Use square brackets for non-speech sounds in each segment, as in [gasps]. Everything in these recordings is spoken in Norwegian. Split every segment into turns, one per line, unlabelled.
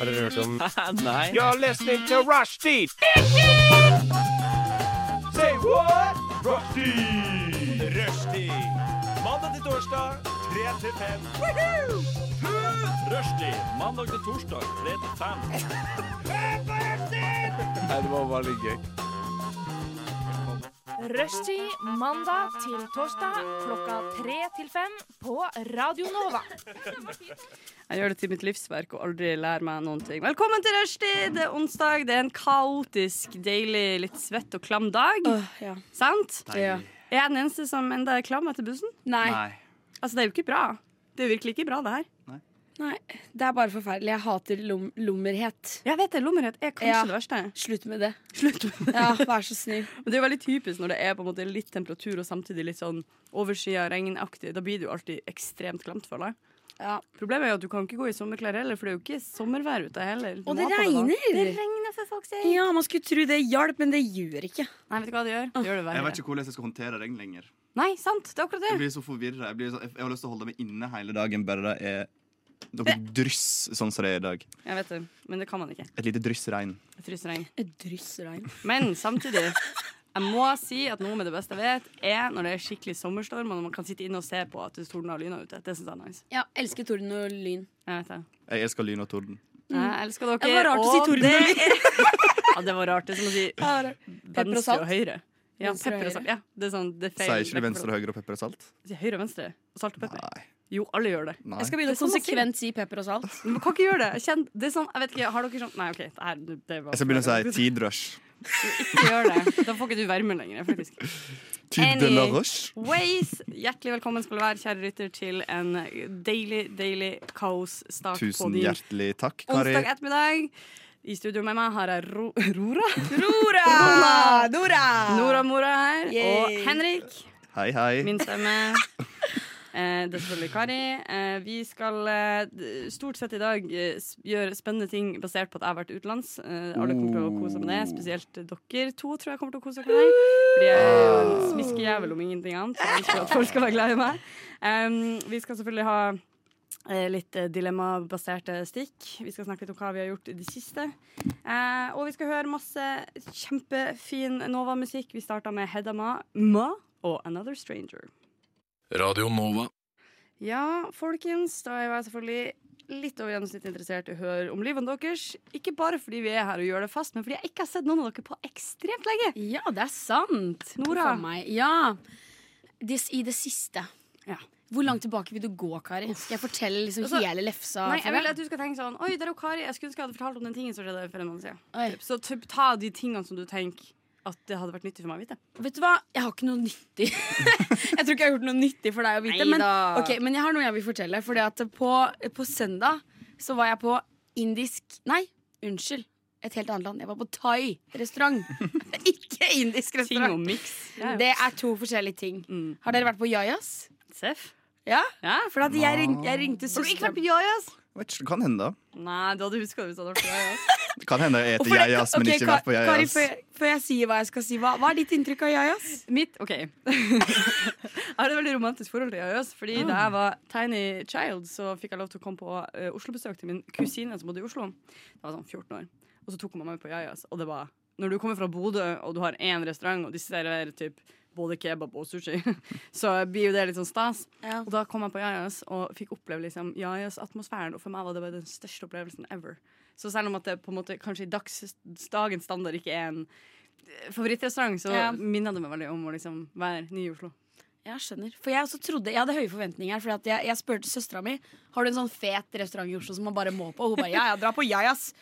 Har dere hørt
[laughs]
om
Nei.
You're listening to Rushdie. Say what? Rushdie. Rushdie. Mandag til torsdag, 3 til 5.
Rushdie. Mandag til torsdag, 3 til 5.
Nei, det var bare litt gøy.
Rushtid mandag til torsdag klokka tre til fem på Radio Nova.
Jeg gjør det til mitt livsverk og aldri lærer meg noen ting. Velkommen til rushtid! Det er onsdag. Det er en kaotisk, deilig, litt svett og klam dag.
Ah, ja.
Sant?
Ja.
Er jeg den eneste som enda er klam etter bussen?
Nei.
Nei.
Altså, det er jo ikke bra. Det er jo virkelig ikke bra, det her.
Nei. Det er bare forferdelig. Jeg hater lom lommerhet.
Jeg vet det, Lommerhet er kanskje
Ja.
det verste.
Slutt med [laughs] det.
Slutt med det.
Ja, vær så snill.
Men det er jo veldig typisk når det er på en måte litt temperatur og samtidig litt sånn overskya, regnaktig. Da blir det jo alltid ekstremt klamt for deg.
Ja.
Problemet er jo at du kan ikke gå i sommerklær heller, for det er jo ikke sommervær ute heller. Du
Og
må
det
ha på deg noe.
regner.
Det regner for folk seg.
Ja, man skulle tro det hjalp, men det gjør ikke.
Nei, vet du hva det gjør? Det gjør det
Jeg vet
verre.
ikke hvordan jeg skal håndtere regn lenger.
Nei, sant. Det er akkurat
Jeg
det.
blir så forvirra. Jeg, blir så- jeg har lyst til å holde meg inne hele dagen, bare det er noe dryss sånn som det er i dag.
Jeg vet det, men det kan man ikke.
Et lite dryss regn.
Jeg fryser regn.
Et dryss regn.
Men samtidig, jeg må si at noe med det beste jeg vet, er når det er skikkelig sommerstorm, og når man kan sitte inne og se på at det tordner og lyner ute. Det syns jeg er nice.
Ja, elsker torden og lyn.
Jeg vet det.
Jeg elsker lyn og torden.
Jeg elsker dere.
Mm. Det var rart å si
og
torden
det
og
er- Ja, det var rart. Det er som å si
Pepper og
venstre
salt.
og høyre. Ja,
Venstre og
pepper og salt. Ja, det er sånn, det er feil.
Sier ikke du venstre, høyre og pepper og salt?
Si høyre og venstre. Og salt og pepper.
Nei.
Jo, alle gjør det.
[laughs]
Nei.
Jeg skal
Det
begynne å
er sånn man sier.
konsekvent si pepper og salt.
Men kan ikke gjøre det. Jeg kjenner, det er sånn, jeg vet ikke, har dere sånn Nei, OK. Det her, det er bare-
Jeg skal begynne å si tidrush.
Ikke gjør det. Da får ikke du være med lenger, faktisk.
Tidrush?
Waze, hjertelig velkommen skal du være, kjære rytter, til en deilig, deilig kaosstart på
Tusen
din
hjertelig takk,
onsdag
Kari.
ettermiddag. I studio med meg har jeg Ro Rora.
Nora! Ah, Nora!
Nora Mora her. Og
Yay.
Henrik.
Hei, hei.
Min stemme. Eh, det er selvfølgelig Kari. Eh, vi skal eh, d- stort sett i dag eh, s- gjøre spennende ting basert på at jeg har vært utenlands. Eh, alle kommer til å kose seg med det, spesielt dere to tror jeg kommer til å kose seg med det. Fordi jeg er jo en smiskejævel om ingenting annet. så Jeg ønsker at folk skal være glad i meg. Em, vi skal selvfølgelig ha eh, litt eh, dilemmabaserte stikk. Vi skal snakke litt om hva vi har gjort i det siste. Eh, og vi skal høre masse kjempefin Nova-musikk. Vi starta med Hedda Ma, Ma og Another Stranger.
Radio Nova.
Ja, folkens, da er jeg selvfølgelig litt over gjennomsnittet interessert i å høre om livene deres. Ikke bare fordi vi er her og gjør det fast, men fordi jeg ikke har sett noen av dere på ekstremt lenge.
Ja, det er sant.
Nora.
Huff a Meg. Ja. Dis, I det siste.
Ja.
Hvor langt tilbake vil du gå, Kari? Skal jeg fortelle liksom
Altså,
hele lefsa?
Nei,
for
jeg vil
deg?
at du skal tenke sånn Oi, der er jo Kari. Jeg skulle ønske jeg hadde fortalt om den tingen som skjedde for en måned siden.
Oi.
Typ. Så typ, ta de tingene som du tenker at det hadde vært nyttig for meg å vite.
Vet du hva? Jeg har ikke noe nyttig. [laughs] jeg tror ikke jeg har gjort noe nyttig for deg å vite. Men,
Neida.
ok, men jeg har noe jeg vil fortelle. Fordi at på, på søndag så var jeg på indisk Nei, unnskyld. Et helt annet land. Jeg var på thai-restaurant. [laughs] ikke
Ting
indisk
og
restaurant.
miks. Ja, ja.
Det er to forskjellige ting.
Mm.
Har dere vært på Yayas?
Seff.
Ja?
Ja,
For at jeg, ring, jeg ringte
Har du ikke
søsteren
vært på Jajas?
Vet ikke, Kan hende.
Nei, du hadde huska det hvis du hadde vært på Jajas.
Det Kan hende
Og
jeg eter
for det-
jajas, men
ok,
ikke vært på
Kar- Kari,
jajas.
før, jeg- før jeg sier hva jeg skal si, hva, hva er ditt inntrykk av Jajas?
Mitt OK. jeg [laughs] har et veldig romantisk forhold til Jajas. Fordi da jeg var tiny child, så fikk jeg lov til å komme på eh, Oslo-besøk til min kusine som bodde i Oslo. Da var jeg sånn 14 år. Og så tok hun meg med på Jajas. Og det var Når du kommer fra Bodø, og du har én restaurant, og de serverer typ både kebab og sushi, [laughs] så blir jo det litt sånn stas. Og da kom jeg på Jajas og fikk oppleve liksom Jajas-atmosfæren, og for meg var det bare den største opplevelsen ever. Så selv om at det på en måte kanskje i dags, dagens standard ikke er en eh, favorittrestaurant, så
Ja.
minner det meg veldig om å liksom være ny i Oslo.
Jeg skjønner. For jeg også trodde, jeg hadde høye forventninger. For at jeg, jeg spurte søstera mi Har du en sånn fet restaurant i Oslo som man bare må på. Og hun bare ja, ja, dra på Jajas.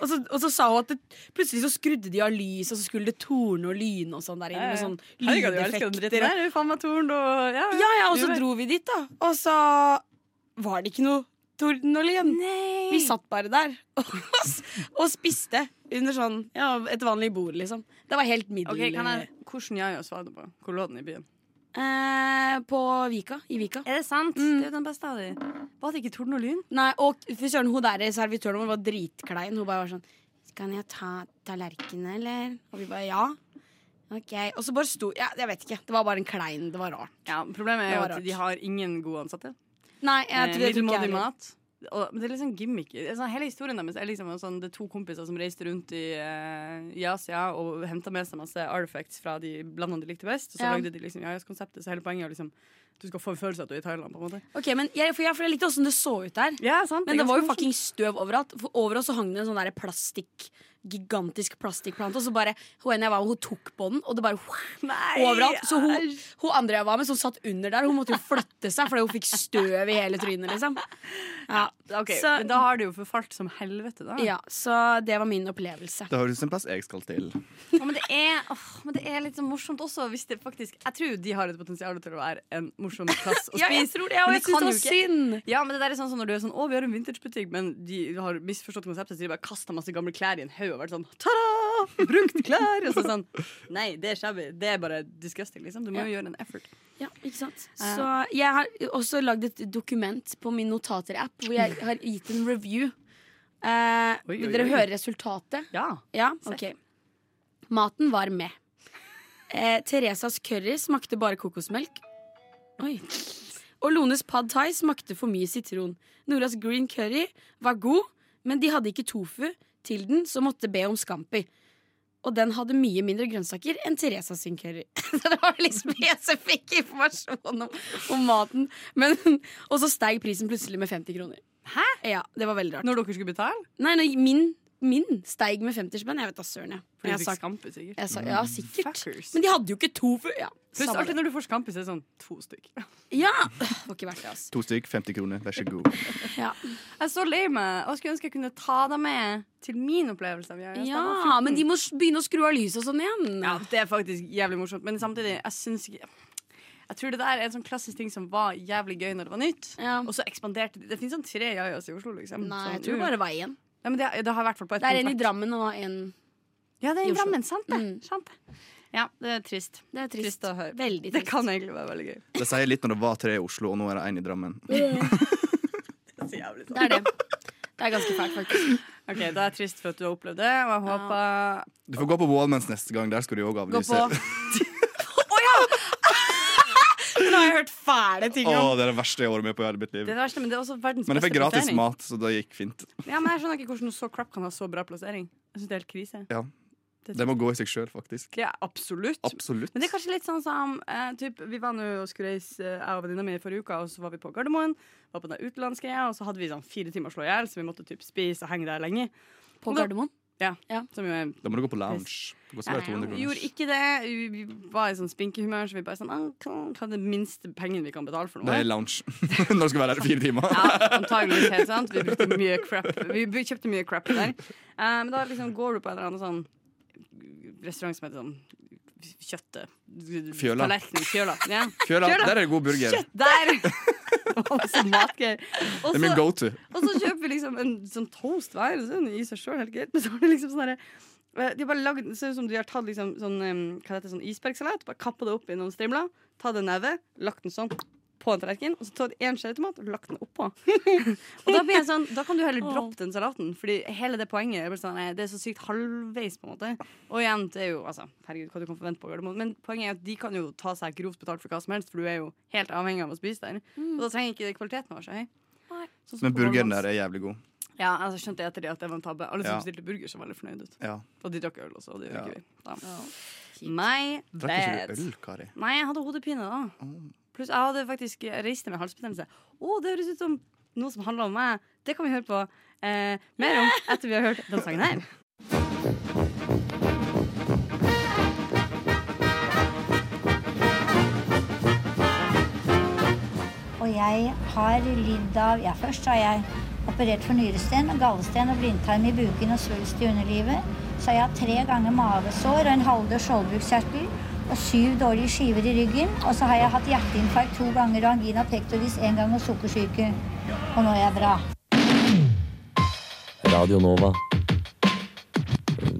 Og så, og så sa hun at det, plutselig så skrudde de av lys, og så skulle det torne og lyne og sånn der inne. Med sånn
Herregud, jeg elsker den dritten
lydeffekter.
der. Faen meg torn og ja.
Ja, ja, og
Du
så
vet.
dro vi dit, da. Og så var det ikke noe torden og lyn. Vi satt bare der [laughs] og, og spiste under sånn ja, et vanlig bord, liksom. Det var helt middel...
Ok, kan jeg, Hvordan Jajas var det på? Hvor lå den i byen?
eh, på Vika. I Vika.
Er det sant? Det er jo den beste av dem. Var det ikke torden og lyn?
Nei, og fy søren, hun der servitøren vår var dritklein. Hun bare var sånn Kan jeg ta tallerkenene, eller? Og vi bare ja. Ok. Og så bare sto ja, Jeg vet ikke. Det var bare en klein. Det var rart.
Ja, Problemet er
Det
jo
var
at
rart.
de har ingen gode ansatte.
Nei, jeg
Eh,
tror jeg tror ikke
Middelmådig
jeg heller.
mat. og, men det er litt sånn gimmick. Det er Sånn, hele historien deres er liksom en sånn, det er to kompiser som reiste rundt i, eh, i Asia og henta med seg masse artifacts fra de landene de likte best. Og så
Ja.
lagde de liksom Jajas-konseptet, så hele poenget er liksom du skal få en følelse av at du er i Thailand. på en måte
Ok, men jeg, for jeg, for jeg likte åssen det så ut der.
Ja, sant
Men det var jo
ganske
fucking støv overalt. For over oss så hang det en sånn der plastikk gigantisk plastikkplante. Og så bare Hun ene jeg var med, hun tok på den, og det bare
Nei,
overalt. Så hun, hun andre jeg var med, som satt under der, hun måtte jo flytte seg fordi hun fikk støv i hele trynet, liksom. Ja,
morsomt. Ok,
så,
men Da har det jo forfalt som helvete, da.
ja, så det var min opplevelse.
Det høres ut som en plass jeg skal til.
Ja, men, det er, åh, men det er litt sånn morsomt også, hvis det faktisk Jeg tror jo de har et potensial til å være en morsom plass å [laughs] spise.
tror det,
og jeg synes det var
synd.
Ja, men det der er sånn som når du er sånn Å, vi har en vintagebutikk, men de har misforstått konseptet, så de bare kaster masse gamle klær i en haug og vært sånn Ta-da! Brukt klær! Og så sånn Nei, det er shabby. Det er bare disgusting, liksom. Du må jo gjøre en effort.
Ja, ikke sant? Så jeg har også lagd et dokument på min notater-app hvor jeg har gitt en review. Eh,
Oi, oi,
vil dere
oi.
høre resultatet?
Ja.
Ja, ok Maten var med eh, Teresas curry smakte bare kokosmelk Oi Og Lones pad thai smakte for mye sitron Noras green curry var god Men de hadde ikke tofu til den Så måtte be om scampi Og den hadde mye mindre grønnsaker enn Teresas sin curry [laughs] Så det var litt spesifikk informasjon om, om maten Men, Og så steg prisen plutselig med 50 kroner Hæ? Ja, det var veldig rart
Når dere skulle betale?
Nei, nei min, min steig med 50 spenn. Jeg vet da søren, jeg.
Fordi
jeg.
du
sa-
fikk Mm. skampe, sikkert.
jeg sa, ja, sikkert.
Fuckers.
Men de hadde jo ikke to før. Ja,
Pluss
samme
alltid
det.
når du får skampe, så er det sånn to stykk.
ja. Det var ikke verdt det, altså.
To stykk, 50 kroner, vær så god.
Ja.
Jeg er så lei meg, og skulle ønske jeg kunne ta deg med til min opplevelse av Jajas. Da jeg var
ja, men de må s- begynne å skru av lyset og sånn igjen.
Ja, det er faktisk jævlig morsomt, men samtidig, jeg syns ikke Jeg tror det der er en sånn klassisk ting som var jævlig gøy når det var nytt.
Ja.
Og så ekspanderte det. Det finnes sånn tre jajas i Oslo, liksom.
Nei,
sånn,
jeg tror
uh.
bare veien.
Nei, men det, det har i hvert fall på et
Det er en i
punkt vært-
Drammen og en
Ja, det er en i
i Oslo.
Drammen. Sant det.
Mm.
Sant det. Ja, det er trist.
Det er trist.
Trist å høre. Det
Veldig trist.
kan egentlig være veldig gøy.
Det sier litt når det var tre i Oslo, og nå er det én i Drammen.
Det er så jævlig
Det er det. Det er ganske fælt, faktisk.
Ok, Da er jeg trist for at du har opplevd det, og jeg håper
Du får gå på Wallmans neste gang. Der skal du òg
Gå
avlyse.
på [laughs] Å ja! [laughs] Nå har jeg hørt fæle ting
Å,
om
det er det verste jeg har vært med på i hele mitt
Det
liv.
er det verste, men det er også verdens
Men jeg fikk gratis
plassering.
mat, så det gikk fint.
Ja, men Jeg skjønner ikke hvordan noe så crap kan ha så bra plassering. Jeg synes det er helt krise.
Ja. Det må gå i seg sjøl, faktisk.
Ja, absolutt.
Absolutt.
Men det er kanskje litt sånn som eh, typ, Vi var nå og skulle reise, eh, jeg og venninna mi, i forrige uke, og så var vi på Gardermoen. Var på den utenlandske, og så hadde vi sånn fire timer å slå i hjel, så vi måtte typ spise og henge der lenge.
På Gardermoen.
Som jo er
Da må du gå på lounge. Det koster
ja,
bare 200
vi gjorde
kroner.
ikke det. Vi- Vi var i sånn spinkehumør, så vi bare sånn ah, hva- Hva er det minste pengen vi kan betale for noe?
Det er lounge. [laughs] Når du skal være
[laughs]
der i fire timer.
Ja, antageligvis helt sant. Vi brukte mye crap. Vi b- kjøpte mye crap der. Eh, men da liksom går du på en eller annen sånn restaurant som heter sånn Kjøttet.
Fjøla.
Tallerkenen. Fjøla. Ja.
Fjøla,
Fjøla.
der er det god burger.
Kjøtt der! [laughs] Og så matgreier. Og
Det er min
så-
go to.
og altså. så kjøper vi liksom en sånn toast hver. og sånn, I seg sjøl, helt greit. Men så har de liksom sånn herre eh, De har bare lagd det ser ut som de har tatt liksom sånn em, Hva heter det, sånn isbergsalat. Bare kappa det opp i noen strimler, tatt en neve, lagt den sånn på en tallerken, og så tatt én skje tomat og lagt den oppå. og da blir jeg sånn Da kan du heller droppe den salaten, Fordi hele det poenget er bare sånn nei, Det er så sykt halvveis, på en måte. Og igjen, det er jo altså Herregud, hva du kan forvente på Gardermoen. Men poenget er at de kan jo ta seg grovt betalt for hva som helst, for du er jo helt avhengig av å spise der. Og da trenger ikke kvaliteten være så høy. Sånn som
Men
på
burgeren
Wallmans.
der er jævlig god.
Ja, altså, jeg skjønte etter det at det var en tabbe. Alle som
Ja.
bestilte burger, så var veldig fornøyd ut.
Ja.
Og de drakk øl også, og det gjorde
Ja.
ikke vi. Da. My
Drakk ikke
bad.
du øl, Kari?
Nei, jeg hadde hodepine da. Pluss jeg hadde faktisk jeg reiste med halsbetennelse. Å, det høres ut som noe som handler om meg. Det kan vi høre på eh, mer om etter vi har hørt den sangen her.
Og jeg har lidd av Ja, først har jeg operert for nyresten, gallesten og blindtarm i buken og svulst i underlivet. Så har jeg hatt tre ganger mavesår og en halvdød skjoldbruskkjertel. Og syv dårlige skiver i ryggen. Og så har jeg hatt hjerteinfarkt to ganger og angina pectoris én gang og sukkersyke. Og nå er jeg bra.
Radio Nova. Eh,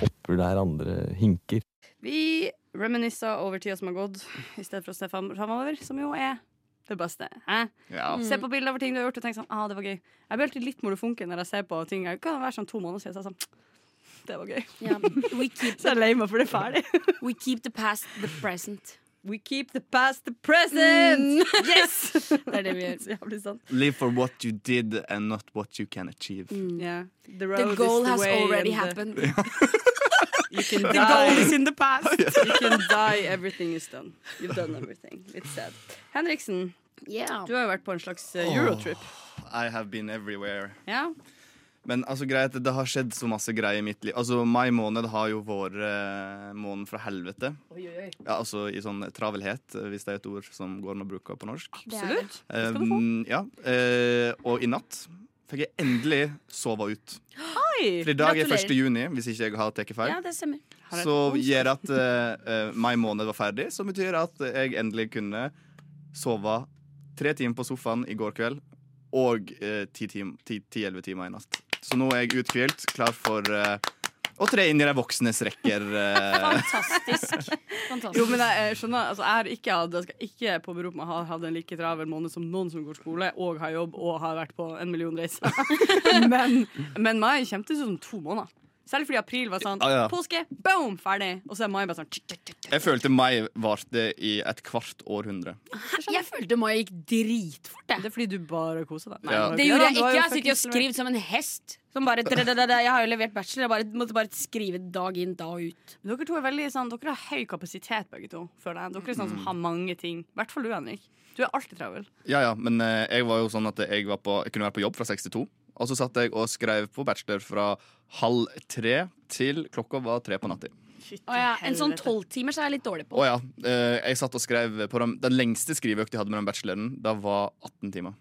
Hopper der andre hinker.
Vi reminiscer over tida som har gått, i stedet for å se fram- framover, som jo er det beste. Hæ?
Ja.
Se på bilder over ting du har gjort, og tenk sånn, ah, det var gøy. Jeg blir alltid litt molefonken når jeg ser på ting. Jeg kan være sånn to måneder siden, så er jeg sånn, det var gøy.
Ja. We, keep,
Så jeg er lei meg for det er ferdig.
we keep the past the present.
We keep the past the present! [laughs] Yes!
Det er det vi gjør.
Så jævlig sant.
Live for what you did and not what you can achieve.
Yeah. The
Mm. The
road
goal
is the
has
way
already
and [laughs] the-
happened.
You can
[laughs] The goal
die.
is
[laughs]
in the past.
You
[laughs]
can die. Everything is done. You've done everything. It's sad. Henriksen,
Yeah.
du har jo vært på en slags eh, eurotrip.
I have been everywhere.
Ja?
Men altså, greit, det har skjedd så masse greier i mitt liv. Altså, Mai måned har jo vært eh, måneden fra helvete. Ja, altså i sånn travelhet, eh, hvis det er et ord som går an å bruke på norsk.
Absolutt. Ah, skal du få.
Um, ja, eh, og i natt fikk jeg endelig sove ut.
Oi!
For i dag er
Gratulerer.
1. juni, hvis ikke jeg har tatt feil.
Ja, det stemmer.
Har jeg
Så
et onsdag?
gjør at eh, eh, mai måned var ferdig, som betyr at jeg endelig kunne sove tre timer på sofaen i går kveld og eh, ti-elleve timer i natt. Så nå er jeg uthvilt, klar for eh, å tre inn i de voksnes rekker. eh.
Fantastisk. [laughs] Fantastisk.
Jo, men jeg, eh, skjønner, altså, jeg, har ikke, hatt- jeg skal ikke påberope meg å ha hatt en like travel måned som noen som går skole og har jobb og har vært på en million
[laughs]
reiser. men, men mai kjentes ut som to måneder. Særlig fordi april var sånn
Ja, ja.
påske, boom, ferdig. Og så er mai bare sånn tsk, tsk, tsk, tsk.
jeg følte mai varte i et kvart århundre.
Jeg følte mai gikk dritfort. Jeg.
Det er fordi du bare koser deg. Nei,
Ja.
bare
Det
gjør
gjorde
han,
jeg
du har
ikke.
jo
Jeg sitter og
fucking-
skriver som en hest. Som bare, tredadada. jeg har jo levert bachelor. Jeg bare, måtte bare skrive dag inn, dag ut.
Dere to er veldig sånn, dere har høy kapasitet, begge to. Føler jeg. Dere er sånn
Mm.
som har mange ting. I hvert fall du, Henrik. Du er alltid travel.
Ja, ja, men eh, jeg var jo sånn at jeg, var på, jeg kunne være på jobb fra 62. Og så satt jeg og skrev på bachelor fra halv tre til klokka var tre på natta.
Å ja, En sånn
Helvete.
tolvtimers er jeg litt dårlig
Å
på.
ja. eh, Jeg satt og skrev på den, den lengste skriveøkta jeg hadde med den bacheloren. Da var 18 timer.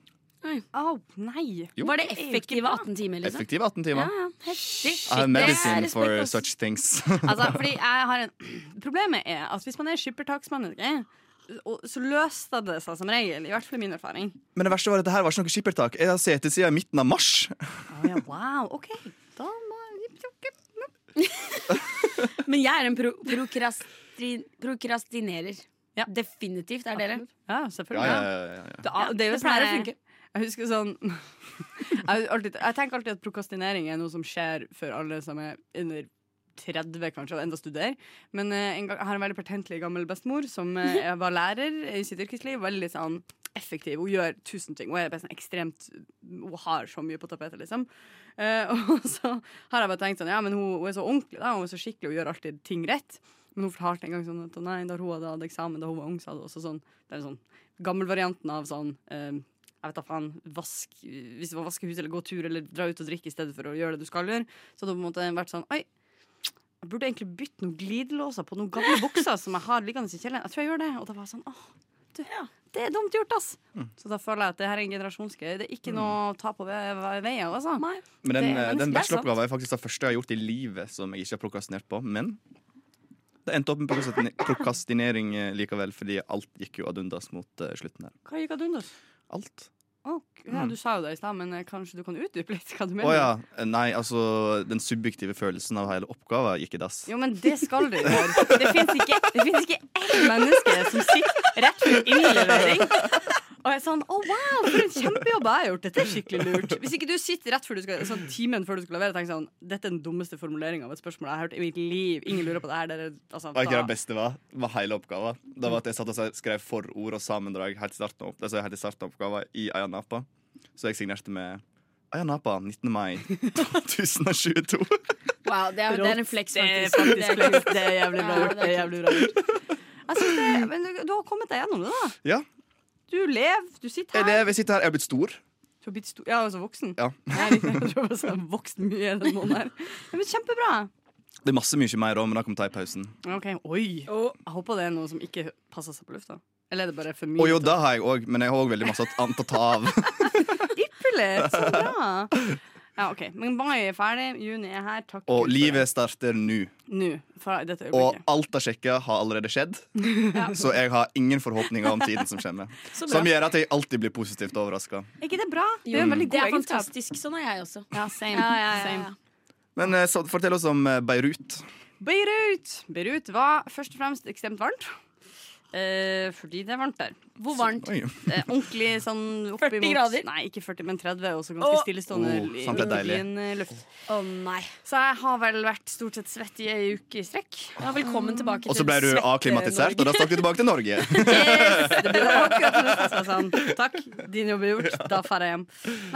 Au, nei.
Jo.
Var det effektive 18 timer, liksom?
Effektive 18 timer.
Ja, heftig.
I have medicine
respekt,
for
ass.
such things.
[laughs] [laughs] Altså, fordi jeg har en [clears throat] Problemet er at hvis man er skippertaksmann, ikke? Og- så løser det seg som regel. I hvert fall i min erfaring.
Men det verste var at dette her var ikke noe skippertak. Jeg har sittet siden midten av mars.
Wow, ok da må
Men jeg er en pro prokrastin prokrastinerer.
Ja.
Definitivt er dere.
Ja,
Ja,
selvfølgelig.
ja, ja, ja, ja.
Det, er- det, er jo
det pleier å
sånn-
funke.
Jeg husker sånn [laughs] jeg, alltid, jeg tenker alltid at prokastinering er noe som skjer for alle som er under 30 kanskje, og enda studerer. Men eh, en gang, jeg har en veldig pertentlig gammel bestemor som eh, var lærer i sitt yrkesliv. Veldig sånn effektiv. Hun gjør tusen ting. Hun er bare sånn ekstremt Hun har så mye på tapetet, liksom. Eh, [laughs] og så har jeg bare tenkt sånn Ja, men hun, hun er så ordentlig, da. Hun er så skikkelig, hun gjør alltid ting rett. Men hun fortalte en gang sånn at nei, da hun hadde hatt eksamen da hun var ung, så hadde hun også sånn Det er sånn gammelvarianten av sånn eh, jeg vet da faen, vask, Hvis det var vaske huset eller gå tur eller dra ut og drikke i stedet for å gjøre det du skal gjøre, så hadde hun på en måte vært sånn Oi, jeg burde egentlig bytte noen glidelåser på noen gamle bukser som jeg har liggende i kjelleren. Jeg tror jeg gjør det. Og da var jeg sånn Åh, du, det er dumt gjort, ass.
Mm.
Så da føler jeg at det her er en generasjonsgreie. Det er ikke noe å ta på ve- ve- veien, altså.
Nei.
Men den,
Det er- altså.
eh, den
det er sant.
bacheloroppgaven er faktisk det første jeg har gjort i livet som jeg ikke har prokrastinert på. Men det endte opp med prokrastine- prokrastinering eh, likevel, fordi alt gikk jo ad undas mot eh, slutten her.
Hva gikk ad undas?
Alt.
Å,
Mm.
ja, du sa jo det i stad, men eh, kanskje du kan utdype litt hva du
Å
mener?
ja. Nei, altså, den subjektive følelsen av hele oppgaven gikk i dass.
Jo, men det skal det gjøre. Det fins ikke, det finnes ikke ett menneske som sitter rett før innlevering og er sånn 'Å, wow, for en kjempejobb jeg har gjort. Dette er skikkelig lurt.' Hvis ikke du sitter rett før du skal, sånn timen før du skal levere og tenker sånn 'Dette er den dummeste formuleringa av et spørsmål jeg har hørt i mitt liv.' Ingen lurer på det her. Dere, altså,
Vet ikke hva
da-
det beste var? Det var hele oppgaven. Det var at jeg satt og skrev forord og sammendrag helt i starten av opp- altså helt i starten av oppgaven i Ayanapa. Så jeg signerte med Ayanapa 19. mai 2022.
Wow, det er, det er en flex,
Det er
faktisk.
faktisk
Det er
flex. Det er jævlig bra
Ja,
gjort.
det er
Det er jævlig bra gjort. Jeg synes det, men du, du har kommet deg gjennom det, da.
[laughs] Ja.
Du lever, du sitter
Jeg
her.
lever, jeg sitter her, jeg har blitt stor.
Du har blitt stor [laughs] Ja, altså voksen.
Ja.
Jeg liker at du har sånn vokst mye i den måneden her. Ja, Men kjempebra.
Det er masse mye mer òg, men da kom teipausen.
Ok, Oi. Jeg håper det er noe som ikke passer seg på lufta. Eller er det bare for mye?
Og jo, da har jeg òg, men jeg har òg veldig masse annet å ta av. [laughs]
Ypperlig! Så bra. Ja, OK. Men mai er ferdig, juni er her. Takk Gud
Og
for
livet starter nå.
det. Nå. Fra dette
Og
øyeblikket.
alt jeg sjekka, har allerede skjedd. Så jeg har ingen forhåpninger om tiden som kommer.
Så bra.
Som gjør at jeg alltid blir positivt overraska.
Er ikke det bra? Mm. Det er jo
Jo,
en veldig
det
god
er
egenskap.
fantastisk. Sånn er jeg også.
Ja, same.
Ja, ja, ja, ja.
same.
Men eh, så, fortell oss om eh, Beirut.
Beirut! Beirut var først og fremst ekstremt varmt. eh, fordi det er varmt der.
Hvor varmt?
Oi.
Eh, ordentlig sånn opp
40
imot-
grader?
Nei, ikke 40, men 30, og så
Åh.
ganske stillestående
Oh,
i-
sant, det er
midt
deilig.
i en, eh, luft.
Å nei.
Så jeg har vel vært stort sett svett i ei uke i strekk. [laughs]
Ja,
Mm.
velkommen tilbake
Og så ble du
svette
avklimatisert, og da stakk du tilbake til Norge. [laughs]
Yes, det burde jeg akkurat som det var sånn. Takk, din jobb er gjort. Da drar jeg hjem.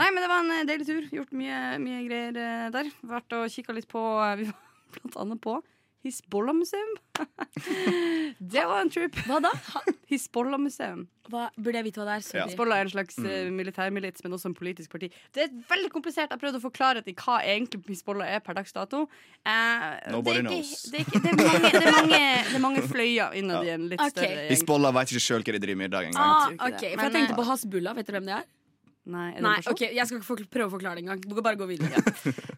Nei, men det var en eh, deilig tur. Gjort mye, mye greier eh, der. Vært og kikka litt på eh, Vi var [laughs] blant annet på Hisbollah-museum. [laughs] Det var en trip.
Norge. Hva da?
Hisbollah-museum.
Hva, burde jeg vite hva det er?
Ja.
Sorry.
Hizbollah er en slags mm. militærmilits, men også en politisk parti. Det er veldig komplisert. Jeg prøvde å forklare til hva egentlig Hizbollah er per dags dato. Eh, det, er
Nobody
ikke,
knows.
det, er ikke, det, er mange, det, er mange, det er mange fløyer innad i en litt
Ok.
større gjeng.
Hizbollah veit ikke sjøl hva de driver med i dag engang.
Ah,
Jeg tror ikke
ok,
det.
for jeg
Men,
tenkte på Hasbullah. Vet dere hvem det er?
Nei, er det en
Nei,
person?
ok, Jeg skal ikke forkl- prøve å forklare det engang. Du kan bare gå videre.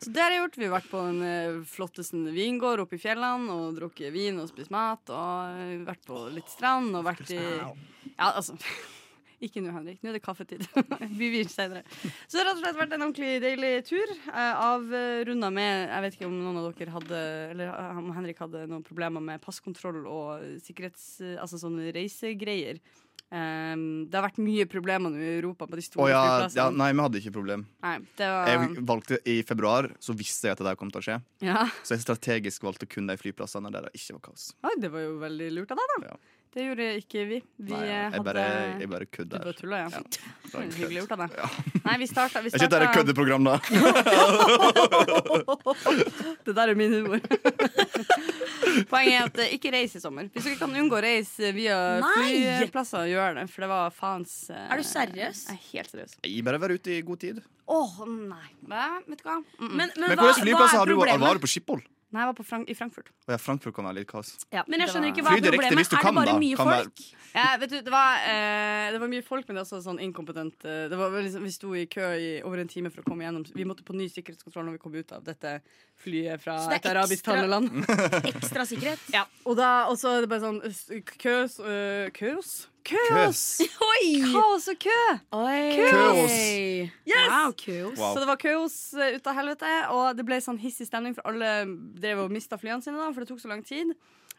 Så det har jeg gjort. Vi har vært på den eh, flotteste vingård oppe i fjellene og drukket vin og spist mat. Og eh, vært på litt strand og vært i Ja, altså [laughs] Ikke nå, Henrik. Nå er det kaffetid. [laughs] Vi vil senere. Så det har rett og slett vært en ordentlig deilig tur. Eh, Avrunda med Jeg vet ikke om noen av dere hadde Eller eh, om Henrik hadde noen problemer med passkontroll og sikkerhets... eh, Altså sånne reisegreier. Eh, det har vært mye problemer nå i Europa på de store
Å ja, ja,
flyplassene.
nei, vi hadde ikke problem.
Nei, det var
Jeg valgte I februar så visste jeg at det der kom til å skje,
ja.
så jeg strategisk valgte kun de flyplassene der det ikke var kaos.
Oi, det var jo veldig lurt av deg, da.
Ja.
Det gjorde ikke vi. Vi
Nei,
eh,
jeg
hadde
bare, jeg bare
Du
kødder.
bare tulla, ja. Det var
en
Hyggelig
kødd.
gjort av deg. Nei, vi starta, vi
Jeg sitter her i
starta
køddeprogram, da.
Det der er min
[laughs]
humor. Poenget er at eh, ikke reis i sommer. Hvis dere kan unngå å reise via
Nei!
flyplasser, gjør det. For det var faens eh,
[laughs] Er du seriøs?
Jeg er helt seriøs.
Jeg bare være ute i god tid.
Å nei. Hva? Vet du hva? Mm -mm.
Men hvilke flyplasser har du? Var du på Schiphol?
Nei, jeg var på Frank i Frankfurt.
Å ja, Frankfurt kan være litt kaos.
Men jeg
Det
skjønner
var-
ikke hva
Fly
er
direkte hvis
problemet
du
er.
kan,
det bare
da.
mye
Kan være-
folk?
Ja, vet du, det var, eh, det var mye folk, men det var også sånn inkompetent eh, det var, vel liksom, Vi sto i kø i over en time for å komme gjennom. Vi måtte på ny sikkerhetskontroll når vi kom ut av dette flyet fra
Så det
et
er
arabisk
ekstra-
taleland.
Ekstra sikkerhet.
Ja, [laughs] og da og så er det bare sånn øst- køs øh, Køs? Køs!
Køs.
Oi!
Kaos og kø!
Kaos.
Yes!
Wow, kaos.
Wow.
Så det var kaos eh, ut av helvete, og det ble sånn hissig stemning, for alle drev og mista flyene sine, da, for det tok så lang tid.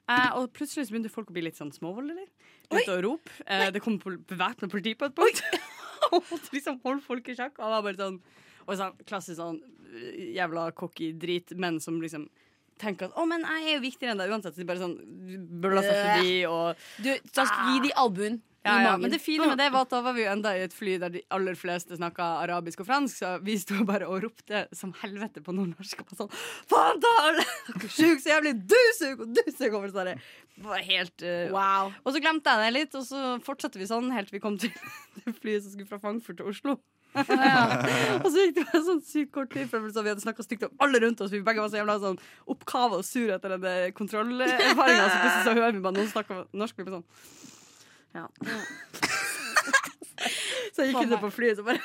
Eh, og plutselig så begynte folk å bli litt sånn småvoldelige. Begynte å rope. Eh, det kom pol- bevæpnet politi på et punkt. [laughs] og måtte liksom holde folk i sjakk. Og var bare sånn Og sånn klassisk sånn eh, jævla cocky drit, men som liksom tenker at 'Å, men jeg er jo viktigere enn deg uansett'. Så de bare sånn blåser forbi og
Du, da skal gi de albuen
ja,
i
ja,
magen.
men det fine med det var at da var vi jo enda i et fly der de aller fleste snakka arabisk og fransk, så vi sto bare og ropte som helvete på nordnorsk og var sånn Faen ta alle! [laughs] Dere sjuk så jævlig! Du sug! Og du sug! Over sånn der. Det var helt eh,
Wow.
Og så glemte jeg det litt, og så fortsatte vi sånn helt til vi kom til [laughs] det flyet som skulle fra Frankfurt til Oslo. [laughs] og så gikk det bare sånn sykt kort tid før så vi hadde snakka stygt om alle rundt oss. Vi begge var så jævla sånn oppkava og sure etter denne kontrollerfaringa. Så plutselig så hører vi bare noen snakke norsk. Vi blir sånn Ja. [laughs] så gikk det på flyet, så bare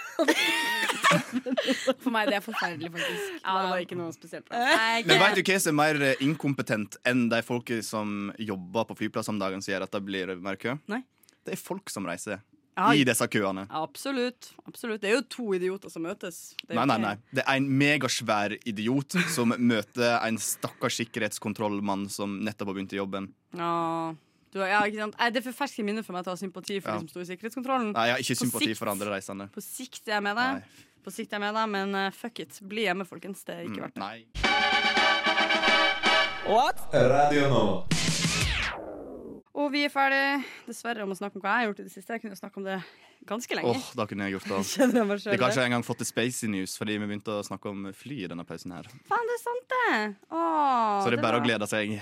For meg det er forferdelig, faktisk.
Ja, det var ikke noe spesielt. Nei,
Men vet du hva som er mer eh, inkompetent enn de folk som jobber på flyplass om dagen, som gjør at det blir mer kø?
Nei.
Det er folk som reiser
Ja,
i disse køene.
Absolutt. absolutt. Det er jo to idioter som møtes. Det er jo
Nei, nei,
ikke-
nei. Det er en megasvær idiot som møter en stakkars sikkerhetskontrollmann som nettopp har begynt i jobben.
Ja, du, ja ikke sant? Nei, Det er for ferske minner for meg til å ha sympati for
Ja.
de som sto i sikkerhetskontrollen.
Nei, jeg har ikke
På
sympati
sikt.
for andre reisende.
På sikt er jeg med
Nei.
deg, På sikt er jeg med deg men eh, fuck it. Bli hjemme, folkens. Det er ikke verdt det.
Nei.
Og vi er ferdig, dessverre, om å snakke om hva jeg har gjort i det siste. Jeg kunne snakke om det ganske lenge.
Åh, da kunne jeg gjort det. altså.
[laughs] Kjenner jeg meg selv
Vi har
der.
kanskje engang fått til Spacey News fordi vi begynte å snakke om fly i denne pausen her.
Faen, det er sant, det! Åh,
Så det er bare
var-
å glede seg.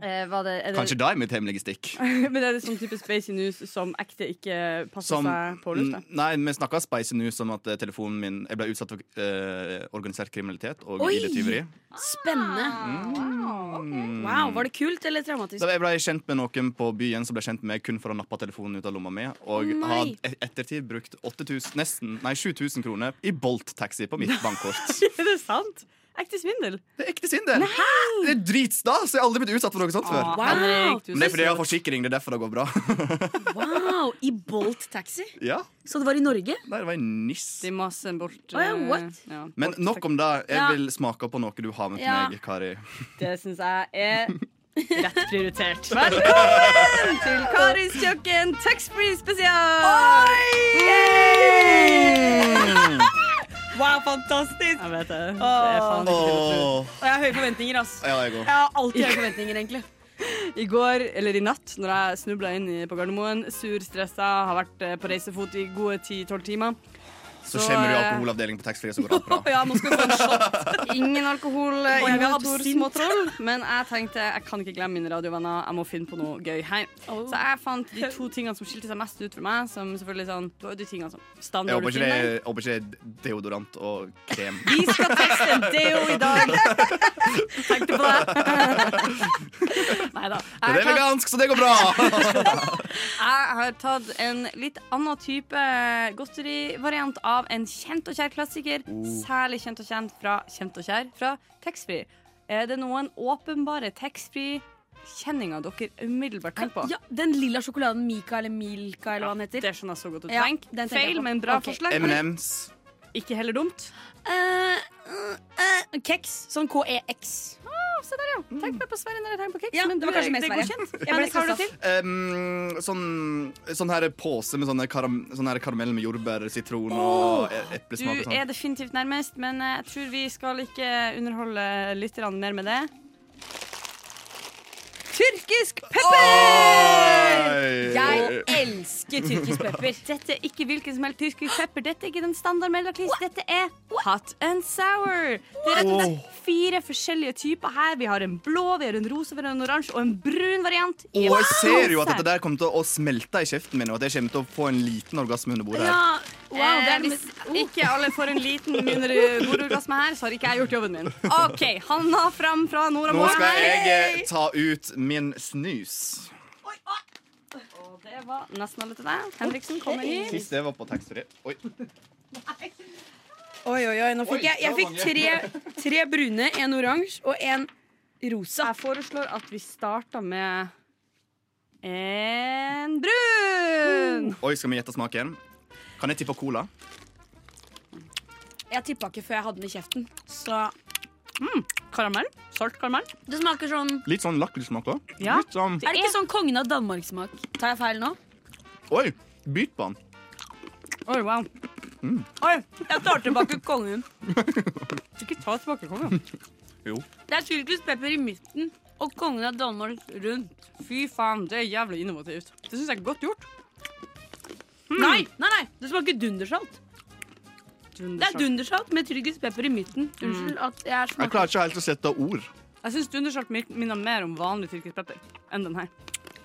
Eh, var det, er det,
Kanskje det er mitt hemmelige stikk.
[laughs] Men er det sånn type spacey news som ekte ikke passer
Som-
seg på lufta?
N- Nei, vi snakka Spicy News om at eh, telefonen min Jeg ble utsatt for eh, organisert kriminalitet og
Oi!
ID-tyveri.
Spennende.
Mm.
Wow, Var det kult eller traumatisk?
Da jeg ble kjent med noen på byen som ble kjent med meg kun for å nappe telefonen ut av lomma mi, og
Å, nei.
har e- ettertid brukt 8000, nesten, nei 7000 kroner i Bolt-taxi på
[laughs]
mitt bankkort.
er det sant? Ekte svindel.
Det er ekte svindel! Det er dritstas! Jeg har aldri blitt utsatt for noe sånt før.
Ah, Wow.
Henrik, du
Men det er fordi jeg
synes-
har forsikring. Det er derfor det går bra. [laughs]
Wow, I Bolt taxi?
ja,
Så det var i Norge?
Nei, det var en niss.
De masse bort
Å ja,
eh,
what?
ja,
Men
bort-
nok om det.
Ja.
Jeg vil smake på noe du har med til
Ja.
meg, Kari.
[laughs]
Det syns jeg er Rett prioritert. Velkommen til Karis kjøkken taxfree spesial! Yay!
Wow, fantastisk!
Jeg vet det. Det er faen ikke til å tro.
Og jeg har høye forventninger, ass.
Ja, jeg òg.
Jeg har alltid høye forventninger, egentlig.
I går, eller i natt, når jeg snubla inn i- på Gardermoen, sur, stressa, har vært eh, på reisefot i gode 10-12 timer.
Så skjemmer du
eh,
alkoholavdelingen på taxfree, så går alt
[laughs]
bra.
[laughs] Ja, nå skal vi få en shot.
Ingen alkohol,
Og jeg vil ha
ingen Tor
absint.
Småtroll. Men jeg tenkte jeg kan ikke glemme mine radiovenner, jeg må finne på noe gøy her. Så jeg fant de to tingene som skilte seg mest ut for meg, som selvfølgelig sånn, det var jo de tingene som
Jeg
standard
håper
du
ikke det
finner.
er, jeg håper ikke det er deodorant og krem.
Vi skal teste en deo i dag. Tenkte på det. Nei da.
Det er vegansk, så det går bra!
Jeg har tatt en litt annen type godterivariant av en kjent og kjær klassiker.
Oh.
Særlig kjent og kjent fra kjent og kjær fra taxfree. Er det noen åpenbare taxfree-kjenninger dere umiddelbart tenker på?
Ja, den lilla sjokoladen Mika eller Milka eller hva den heter.
Det skjønner jeg så godt du
Ja,
tenker.
den tenker jeg
Feil,
på.
men bra
Ok.
forslag.
M&M's.
Ikke heller dumt.
Eh, eh, eh, Keks. Sånn KEX.
se der, ja. Tenk meg på Sverige når jeg tenker på keks.
Ja,
men
det var
du er-
kanskje mer
det går
Sverige.
kjent.
Jeg ble
Henrik, har du til?
stressa.
Um, sånn, sånn her pose med sånne, karam, sånn her karamell med jordbær, sitron og e- eplesmak
Du
og
er
sånn.
definitivt nærmest, men eh, jeg tror vi skal ikke underholde lytterne mer med det.
Tyrkisk pepper! Jeg
Oi.
elsker tyrkisk pepper.
[laughs] Dette er ikke hvilken som helst tyrkisk pepper. Dette er ikke den standard melodis. Dette er hot and sour. Det er rett og slett fire forskjellige typer her. Vi har en blå, vi har en rosa, vi har en oransje og en brun variant. i
Og jeg
en
ser jo at
pose.
dette der kommer til å smelte i kjeften min, og at jeg kommer til å få en liten orgasme under bordet. her
Ja, wow, det
Eh,
er
Hvis ikke alle får en liten minerorgasme her, så har ikke jeg gjort jobben min. OK, Hanna fram fra Nora
Nå
Moa.
skal jeg eh, ta ut min snus.
Og det var nesten alle til deg. Henriksen kommer hit.
Sist det var på taxfree. Oi.
Oi, oi, oi, nå fikk jeg, jeg fikk tre, [laughs] tre brune, en oransje og en rosa.
Jeg foreslår at vi starter med en brun.
Mm.
Oi, skal vi gjette smaken? Kan jeg tippe cola?
Jeg tippa ikke før jeg hadde den i kjeften. Så
Karamell. Salt karamell.
Det smaker sånn
Litt sånn lakrissmak òg.
Ja.
Litt sånn
Er det ikke sånn kongen av Danmark-smak? Tar jeg feil nå?
Oi, byt på den.
Oi, wow.
Oi, jeg tar tilbake kongen.
Ikke ta tilbake kongen.
Det er tyrkisk pepper i midten og kongen av Danmark rundt.
Fy faen, det er jævlig innovativt. Det syns jeg er godt gjort.
Nei, nei, nei, det smaker dundersalt. Det er dundersalt med tyrkisk pepper i midten. Unnskyld at jeg
Jeg
smaker
klarer ikke helt å sette ord.
Jeg syns dundersalt min- minner mer om vanlig tyrkisk pepper enn den her.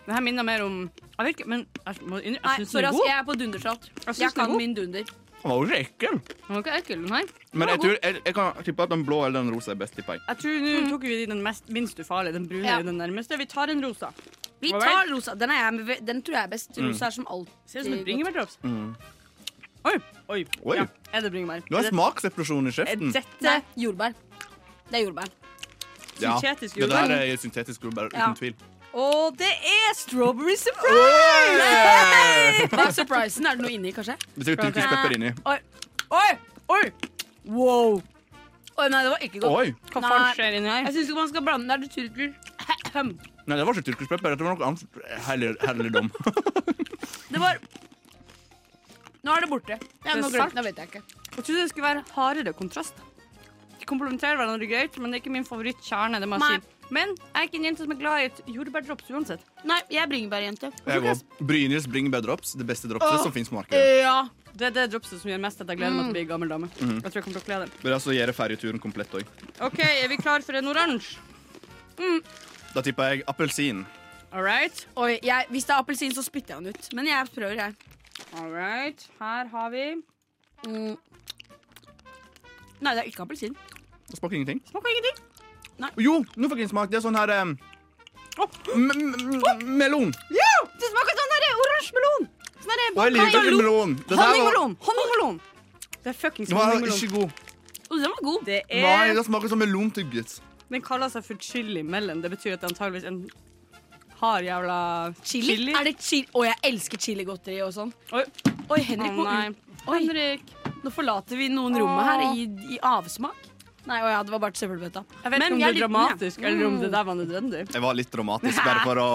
Den her minner mer om Jeg vet ikke, men jeg må innrømme
Nei,
Jeg syns den
sorry,
er
ass,
god.
jeg er på dundersalt.
synes
Jeg
den er
kan
god.
min dunder.
Den var jo ekkel.
Den var ikke ekkel, den her.
Men jeg, tror, jeg, jeg kan tippe at den blå eller den rosa er best. tipper jeg.
Jeg tror Nå tok vi den mest, minst ufarlige. Den brune
Mm. Ja.
er den nærmeste. Vi tar en rosa.
Vi
Alright.
tar rosa. Den, er jeg, med- den tror jeg er best. Rosa er som
Ser ut som et
alltid godt.
bringebærdrops. Oi. Mm. Oi.
Oi.
Ja, er det bringebær?
Du har
Er det-
smaksrepresjon i
er
kjeften.
Nei,
dette
jordbær. Det er [laughs] jordbær.
Ja.
syntetisk
Det
jordbær?
der er syntetisk jordbær,
Ja.
uten tvil.
Og det er strawberry surprise!
Hva er surprisen? Er det noe inni, kanskje?
Det er jo tyrkisk pepper inni.
Oi! Oi! Wow!
Oi, nei, det var ikke godt.
Oi!
Hva
Nei.
faen skjer inni her?
Jeg syns ikke man skal blande det. er Det tyrker.
Nei, det var ikke tyrkisk pepper. Det var noe annet herlig, herligdom.
Det var Nå er det borte. Ja,
Det er
nå glemte-
salt.
nå vet jeg ikke.
Jeg trodde det skulle være hardere kontrast. De komplementerer hverandre greit, men det er ikke min favorittkjerne. det må jeg
Nei.
si. Men jeg er ikke en jente som er glad i et jordbærdrops uansett.
Nei, jeg er bringebærjente.
[laughs] Jeg går. Brynils bringebærdrops, det beste dropset som fins på markedet.
Ja.
Det er det dropset som gjør mest at jeg gleder meg til å bli gammel dame.
Mm.
Jeg tror jeg kommer til å kle det.
Men altså gjør jeg ferjeturen komplett òg.
OK, er vi klar for en oransje?
Da tipper jeg appelsin.
All right.
Oi, jeg, hvis det er appelsin, så spytter jeg den ut. Men jeg prøver, jeg.
All right. Her har vi
Mm. Nei, det er ikke appelsin.
Det smaker ingenting.
Smaker ingenting.
Jo, nå fikk jeg en smak. Det er sånn her eh, m- m- m- Melon.
Ja! Det smaker sånn derre oransje melon. Sånn derre
Og jeg liker ikke melon. Det der var,
Honningmelon! Honningmelon! Det er fuckings
det var
honningmelon.
ikke god.
Og den var god.
Det
Nei,
er,
det smaker som melontygget.
den kaller seg for chili melon. Det betyr at det er antageligvis en hard jævla
Chili?
chili.
Er det chili? Å, jeg elsker chiligodteri og sånn.
Oi,
Oi, Henrik,
å
må
nei.
ut. Oi,
Henrik.
nå forlater vi noen rommet her i, i avsmak. Nei, å ja, det var bare søppelbøtta.
Jeg vet ikke
Men
om
jeg er Mm.
det er dramatisk.
dramatisk, eller om det der var nødvendig.
Jeg var litt dramatisk, bare for å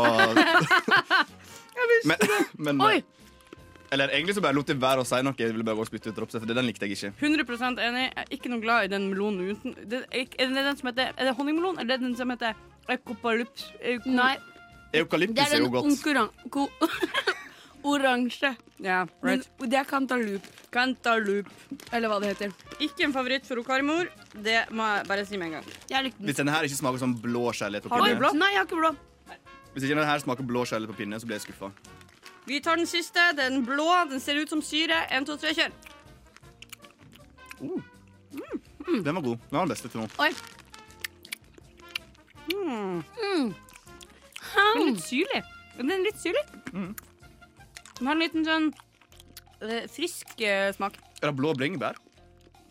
men, men, eh,
Oi!
Eller egentlig så bare lot jeg være å si noe. Jeg ville bare gå og spytte ut dropset, for den likte jeg ikke.
100 enig. Jeg er ikke noe glad i den melonen uten det, Er det den som heter Er det honningmelon, eller er det den som heter Ekopalups?
Nei, det
Eukalyptus
er
er jo
den
godt.
onkuran... ko- [laughs] Oransje.
Ja,
Men
right.
det er cantaloupe,
Cantaloupe.
eller hva det heter.
Ikke en favoritt for Okarimor. Det må jeg bare si med en gang.
Jeg likte den.
Hvis denne her ikke smaker som blå kjærlighet på
Har du
pinne,
blå?
Nei, jeg har ikke blå.
Hvis ikke denne her smaker blå kjærlighet på pinne, så blir jeg skuffa.
Vi tar den siste. Den blå. Den ser ut som syre. En, to, tre, kjør.
Den var god. Den var den beste til nå.
Oi.
Den er litt syrlig. Den er litt syrlig. Den har en liten sånn eh, frisk eh, smak.
Er det blå bringebær?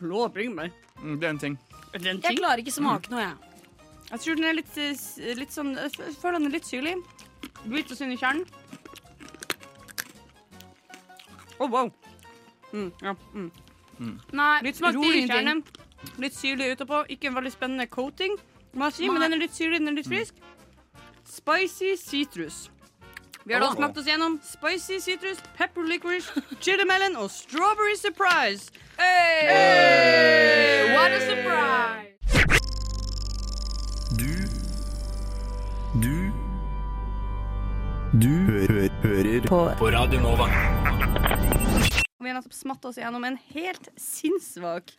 Blå bringebær.
Mm, Det er en ting.
Er det en
Jeg
ting?
klarer ikke smake noe, jeg.
Jeg tror den er litt, eh, s- litt sånn Jeg f- føler den er litt syrlig. Biter oss inn i kjernen. Å, wow. Mm, ja. Mm.
Nei,
Litt smaktig i
ingenting.
kjernen. Litt syrlig utapå. Ikke en veldig spennende coating, må jeg si, men
Nei.
den er litt syrlig, den er litt frisk. Spicy citrus. Vi har da
Åh.
smakt oss gjennom spicy citrus, pepper licorice, chilimelon og strawberry surprise. Hey!
What a surprise!
Du Du Du hø hø hører på
På Radio Nova.
Og vi har nettopp smatt oss gjennom en helt sinnssvak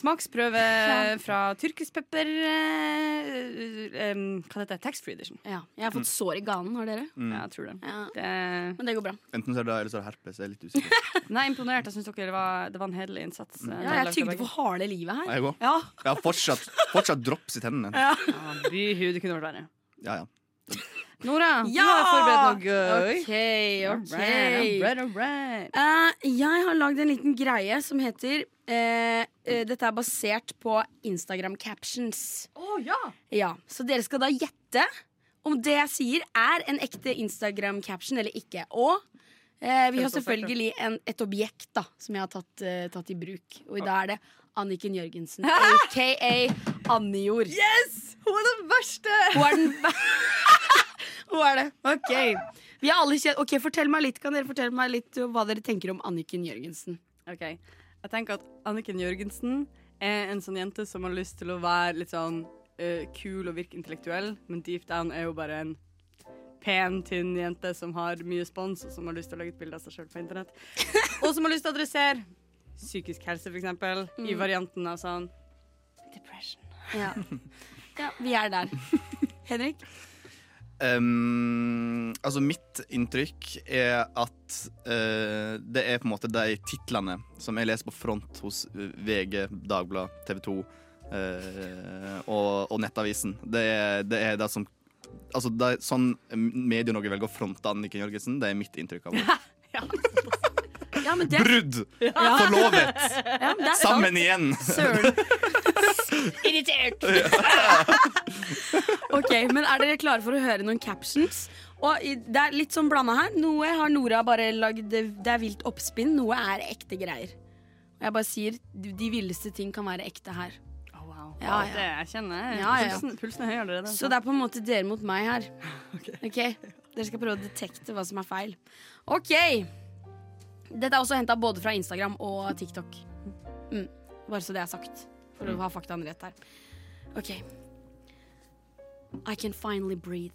smaksprøve fra tyrkispepper eh, em, Hva heter det? Taxfree edition.
Ja, jeg har fått
Mm.
sår i ganen, har dere?
Ja, jeg tror det.
Ja.
det
Men det går bra.
Enten så er det det, eller så er det herpes. Jeg er litt usikker.
Nei, jeg er imponert. Jeg syns dere var, det var en hederlig innsats. eh,
Ja, jeg
nedlagt av
tygde
begge.
for harde livet her.
Jeg går.
Ja,
Jeg har fortsatt, fortsatt drops i tennene.
Ja, Byhu, det kunne vært verre.
Ja, ja.
Nora,
Ja!
du har forberedt noe gøy.
OK, OK.
Alright, alright, alright.
Eh, jeg har lagd en liten greie som heter eh, eh, Dette er basert på Instagram captions. Ja, Så dere skal da gjette om det jeg sier, er en ekte Instagram caption eller ikke. Og eh, vi har selvfølgelig en, et objekt da som jeg har tatt, eh, tatt i bruk. Og da er det Anniken
[laughs]
Jørgensen, aka Annijord.
Hun er den verste!
Hun er den [laughs] Hun er det. Ok. Vi er alle kjent. Ok, fortell meg litt, Kan dere fortelle meg litt eh, hva dere tenker om Anniken Jørgensen?
Ok, Jeg tenker at Anniken Jørgensen er en sånn jente som har lyst til å være litt sånn eh, kul og virke intellektuell, men deep down er hun bare en pen, tynn jente som har mye spons, og som har lyst til å legge et bilde av seg sjøl på
[laughs]
internett. Og som har lyst til å adressere psykisk helse, f.eks., eksempel
Mm.
i varianten av sånn depression.
[laughs] Ja. Vi er der. [laughs] Henrik?
Um, altså mitt inntrykk er at eh, det er på en måte de titlene som jeg leser på front hos eh, VG, Dagbladet, TV 2 eh, og, og Nettavisen. Det er det, er det som Altså det er sånn Medie-Norge velger å fronte Anniken Jørgensen, det er mitt
[laughs]
inntrykk av henne.
Ja, men det,
Brudd! [laughs] Forlovet!
ja, men det er [laughs] sant.
Sammen igjen! [laughs]
Søren. [laughs] Irritert. [laughs] ok, men Er dere klare for å høre noen captions? Og i- Det er litt sånn blanda her. Noe har Nora bare lagd Det er vilt oppspinn. Noe er ekte greier. Og Jeg bare sier de de villeste ting kan være ekte her.
Oh, wow.
Ja, ja.
Det jeg kjenner
Ja, ja, ja.
Pulsen, pulsen er høy allerede. altså.
Så det er på en måte dere mot meg her. Ok? Dere skal prøve å detekte hva som er feil. OK. Dette er også henta både fra Instagram og TikTok. Mm. Bare så det er sagt. For å ha faktaene rett her. OK. I can finally breathe.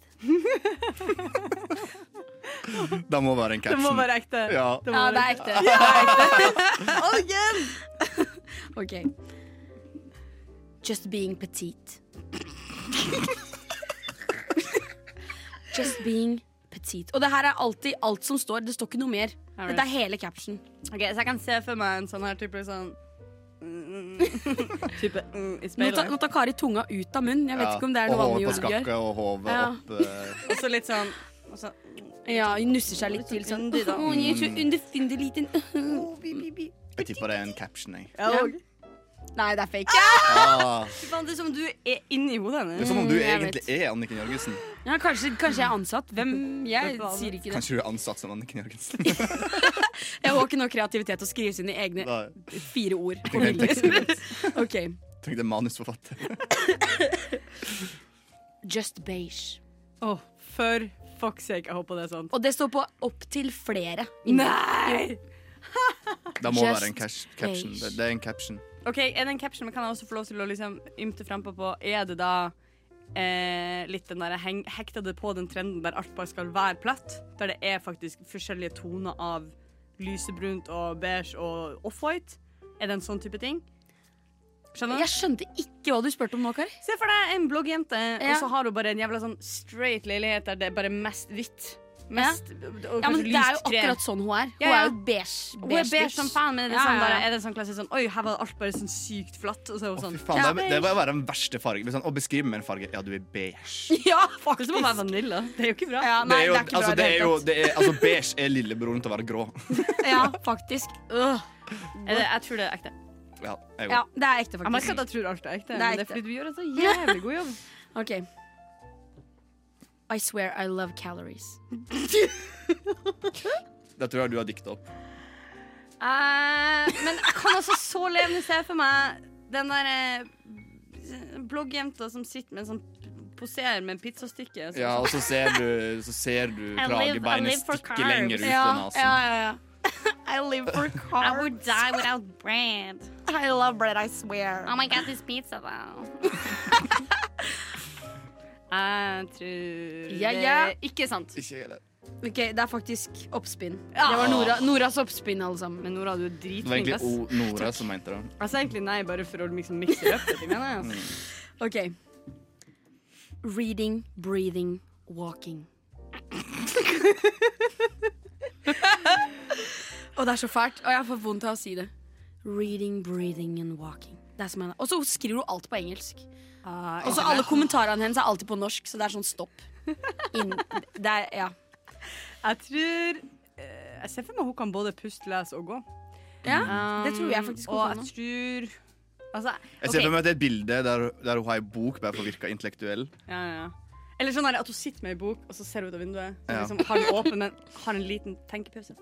Det må være
[laughs]
en
det må
caption.
være ekte.
Ja.
Det må
[laughs] Ja, det
være
er
ekte.
ekte. Det er [laughs]
Again!
ekte. [laughs] OK. Just being [laughs] petite. Just being petite. Og det her er alltid alt som står. Det står ikke noe mer.
Alright.
Dette er hele caption.
Ok, Så jeg kan se for meg en sånn her type
[laughs]
sånn Type mm, i
Nå tar,
speilet.
nå tar Kari tunga ut av munnen. Jeg vet
Ja,
ikke om det er
og
noe vanlig
håret på
jord gjør.
skakket og hodet
Ja.
opp. eh,
Og så litt sånn og så,
Ja, hun nusser seg litt til sånn.
Undig, da.
Å, hun er så
Mm.
underfundig liten.
jeg tipper det er en caption,
[laughs]
jeg.
ja, og-
Nei, det er fake.
Ah.
Fy faen, Det er som om du er inni hodet
Det er
hennes.
som om du
Mm, jeg
egentlig er Anniken Jørgensen.
Ja, kanskje, kanskje jeg er ansatt. Hvem? Jeg
Vet du hva,
sier ikke det.
Kanskje du er ansatt som Anniken Jørgensen. [laughs]
Jeg har ikke noe kreativitet til å skrive sine egne
Nei.
[laughs]
fire ord. på
Det er en
bildet. [laughs] Ok.
Tenkte manusforfatter.
Just beige.
Å, for fuck's sake, jeg håper det er sant.
Og det står på opptil flere.
Nei!
Det må
Just
være en cash, caption.
beige.
Det, det er en caption.
OK, er det en caption, men kan jeg også få lov til å liksom ymte frampå på Er det da eh, litt den der heng, Hekta det på den trenden der alt bare skal være platt? Der det er faktisk forskjellige toner av lysebrunt og beige og offwhite? Er det en sånn type ting? Skjønner du?
Jeg skjønte ikke hva du spurte om nå, Kari.
Se for deg en bloggjente,
Ja.
og så har hun bare en jævla sånn straight leilighet der det er bare mest hvitt. Mest, og
Ja,
kanskje Altså,
men Det er jo
lyst tre.
akkurat sånn hun er. Hun
Ja, ja.
er jo beige.
Hun er beige
bitch.
som faen, men er det,
Ja,
sånn
ja,
der,
ja.
er det sånn klassisk sånn Oi, her var alt bare sånn sykt flatt. Og så er hun sånn
Fy faen,
ja,
det, det må være den verste fargen. Liksom, å beskrive med en farge Ja, du er [laughs] beige.
[laughs] Ja,
Det må være vanilla. Det er jo ikke bra.
Ja,
Det
nei,
er jo,
det er ikke bra
altså,
i
det
det
er jo,
hele tatt.
det er, altså, beige er lillebroren til å være grå.
Ja, faktisk. Øh.
Er det, jeg tror det er ekte.
Ja, jeg
Ja,
går.
det er ekte,
Jeg merker
faktisk.
at jeg tror alt er ekte.
Det er
men Det er
ekte.
fordi du gjør en så jævlig god jobb.
Ok I swear I love calories.
Det tror jeg du har dikta opp.
[laughs] Eh, men jeg kan også så levende se for meg den der eh, bloggjenta som sitter med en sånn poserer med en pizzastykke. Sånn,
Ja, og så ser du, så ser
I
du
live- I
kragebeinet
live for
stikke
carbs.
lenger ut på
Ja, ja,
nesen.
ja, ja. I live for
I
carbs.
would die without bread.
I love bread, I swear.
Oh my god, this pizza, though. Jeg tror
Ja, ja.
det er Eh, ikke sant.
Ikke heller.
Ok, Det er faktisk oppspinn. Det var Nora, Noras oppspinn, alle sammen.
Men Nora, du er
Det var
dritflink.
egentlig
ass.
O- Nora som mente det.
Jeg sa egentlig nei bare for å liksom mikse det opp. litt, mener jeg, ass.
Ok Reading, breathing, walking. og det er så fælt, og jeg får vondt av å si det. Reading, breathing and walking. Det er som en- Og så skriver hun alt på engelsk. Og så alle kommentarene hennes er alltid på norsk, så det er sånn stopp. Inn- det er, ja.
Jeg tror eh, Jeg ser for meg hun kan både puste, lese og gå.
ja, det tror jeg
Um,
faktisk hun
Og
kan
jeg
nå.
tror Altså,
Jeg ser
ok.
for meg at det er et bilde der, der hun har ei bok bare for å virke intellektuell.
ja, ja. Eller sånn her at hun sitter med ei bok, og så ser hun ut av vinduet. Så
Ja.
liksom, har den åpen, men har en liten tenkepause.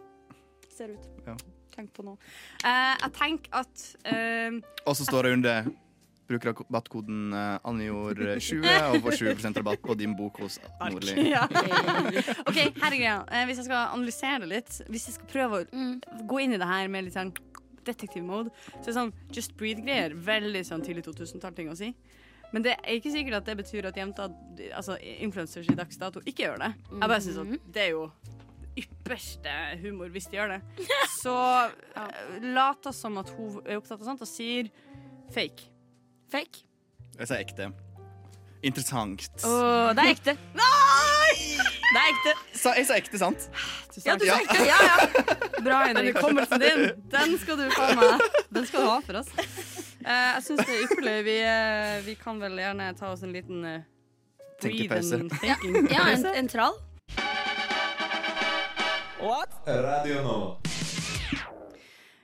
Ser ut.
Ja.
Tenk på noe. Eh, jeg tenker at eh,
Og så står det under Bruk rabattkoden eh, Anjor20 og får 20 rabatt på din bok hos Nordli.
Ja. OK, her er greia. Eh, hvis jeg skal analysere det litt, hvis jeg skal prøve å gå inn i det her med litt sånn detektiv mode, så er det sånn Just Breed-greier veldig sånn tidlig 2000-tall-ting å si. Men det er ikke sikkert at det betyr at jenta, altså influencers i dags dato ikke gjør det. Jeg bare synes at det er jo ypperste humor hvis de gjør det. Så eh, lat oss som at hun er opptatt av sånt, og sier fake.
Fake.
Jeg sier ekte. Interessant.
Å, det er ekte.
Det er ekte.
Sa, jeg sa ekte, sant?
Ja, du
Ja.
sa ekte. Ja, ja.
[laughs] Bra, Henrik. Hukommelsen din, den skal du få med. Den skal du ha for oss. Eh, jeg syns det er ypperlig. Vi, eh, vi kan vel gjerne ta oss en liten eh, breathe
Tenkepause.
and thinking.
ja en, en trall.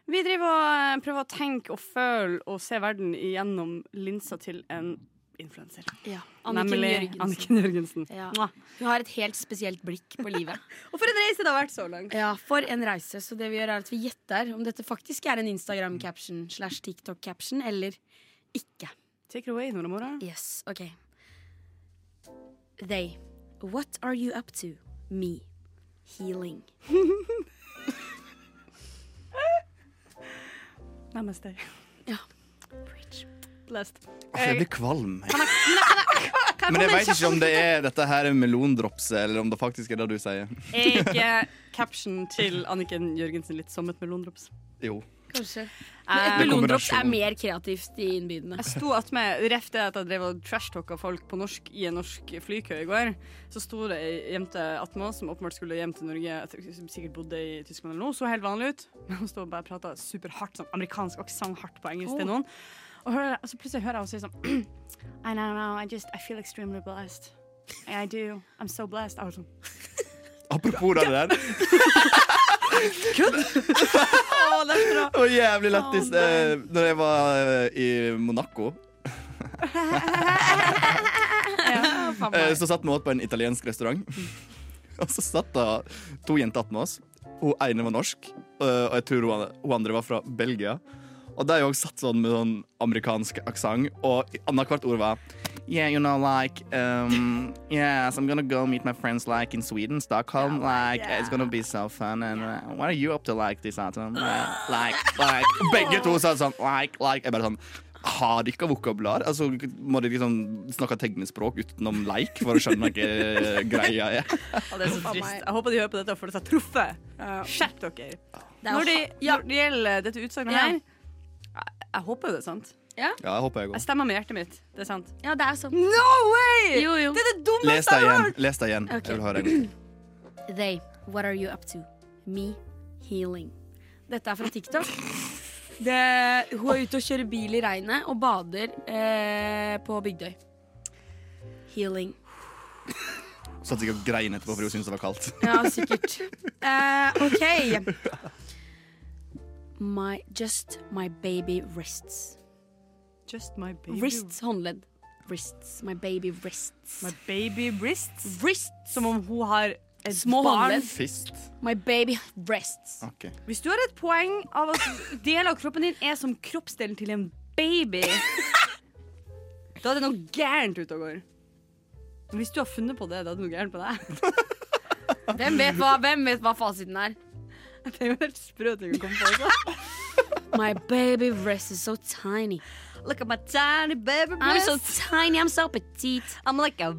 Vi driver og eh, prøver å tenke og føle og se verden gjennom linsa til en influenser.
Ja.
Nemlig Anniken Jørgensen.
Ja.
Mwah.
Hun har et helt spesielt blikk på livet.
Og for en reise det har vært så langt.
Ja, for en reise. Så det vi gjør, er at vi gjetter om dette faktisk er en Instagram-caption slash TikTok-caption eller ikke.
Take it away, Nora Mora.
Yes, ok. They. What are you up to? Me. Healing.
Namaste.
Ja.
Blessed.
Jeg blir kvalm. Men jeg vet ikke om det er dette her er melondropset, eller om det faktisk er det du sier.
Er ikke eh, caption til Anniken Jørgensen litt som et melondrops?
Jo.
Kanskje.
Eh,
Et melondrops
kombinasjon.
er mer kreativt i innbydende.
Jeg sto at med ref det at jeg drev og trashtalka folk på norsk i en norsk flykø i går. Så sto det ei jente attmed oss som åpenbart skulle hjem til Norge, jeg tror som sikkert bodde i Tyskland eller noe, så helt vanlig ut. [laughs] Men hun sto og bare prata superhardt, sånn amerikansk aksent hardt på engelsk til noen. Og, hører, og så plutselig hører jeg henne si sånn [clears throat] I don't know, I just I feel extremely blessed. I do. I'm so blessed. Jeg var sånn
Apropos det
[laughs]
der. [laughs]
Å, det er så bra.
Det var jævlig lættis eh, Når jeg var eh, i Monaco. [laughs] Eh, Så satt vi åt på en italiensk restaurant. [laughs] Og så satt det to jenter attmed oss. Hun ene var norsk, eh, og jeg tror hun, hun andre var fra Belgia. Og de òg satt sånn med sånn amerikansk aksent, og annethvert ord var Yeah, you know, like um, [laughs] Yes, I'm gonna go meet my friends like in Sweden, Stockholm. like, it's gonna be so fun. And uh, what are you up to like this autumn? Uh, like, like Begge to sa sånn like, like. Jeg bare sånn har de ikke vokabular? Altså, må de liksom snakke tegnespråk utenom leik for å skjønne hva greia er?
Og det er så trist. Jeg håper de hører på dette og føler seg truffet. Skjerp dere. Når det, når det gjelder dette utsagnet her, jeg, jeg håper jo det er sant.
Ja, jeg håper jeg
Jeg
går.
stemmer med hjertet mitt. Det er sant.
Ja, det er sant.
No way!
Jo, jo.
Det er det
Les
dummeste
deg
jeg har
igjen.
hørt!
Les deg igjen.
Ok.
Jeg vil høre en gang.
They, what are you up to? Me, healing. Dette er fra TikTok. Det, hun er ute og kjører bil i regnet og bader eh, på Bygdøy. Healing.
Satt sikkert og grein etterpå fordi hun syntes det var kaldt.
Ja, sikkert. Eh, OK. My, just my baby wrists.
Just my baby
Wrists, håndledd. Wrists. My baby wrists.
My baby wrists.
wrists.
Som om hun har et
Små
barn.
håndledd.
Fist.
My baby breasts.
Ok.
Hvis du har et poeng av at deler av kroppen din er som kroppsdelen til en [laughs] baby, da er det noe gærent ute og går. Hvis du har funnet på det, da er det noe gærent på deg. [laughs]
Hvem vet hva, hvem vet hva fasiten er?
Det er jo helt sprø ting å komme på. Altså.
My baby breast is so tiny.
[laughs] Look at my tiny baby
I'm
breast.
so tiny, I'm so petite.
I'm like a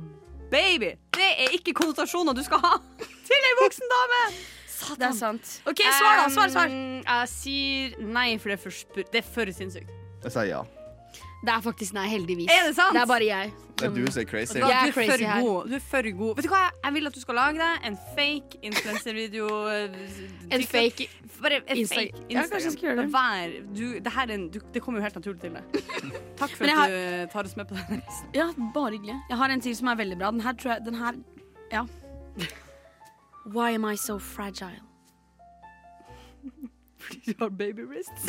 baby. Det er ikke konnotasjoner du skal ha [laughs] til ei voksen dame.
Det er sant. OK,
Um, Jeg sier nei, for det er for, spr- det er for sinnssykt.
Jeg sier ja.
Det er faktisk nei, heldigvis.
Er det sant?
Det er bare jeg.
Det er du som er crazy.
Jeg er
du
crazy
for
her.
god. Du er for god. Vet du hva? Jeg vil at du skal lage deg en fake influenservideo. eh,
En
TikTok.
fake
Bare en
Insta-
fake Instagram.
Ja, kanskje jeg skal gjøre det.
Vær, du, det, her er en, du, det kommer jo helt naturlig til deg. Takk for
Men
at
jeg
du tar oss med på den reisen.
Ja, bare hyggelig. Jeg har en til som er veldig bra. Den her tror jeg Den her Ja. Why am I so [laughs] fragile?
Du har baby
[laughs]
wrists.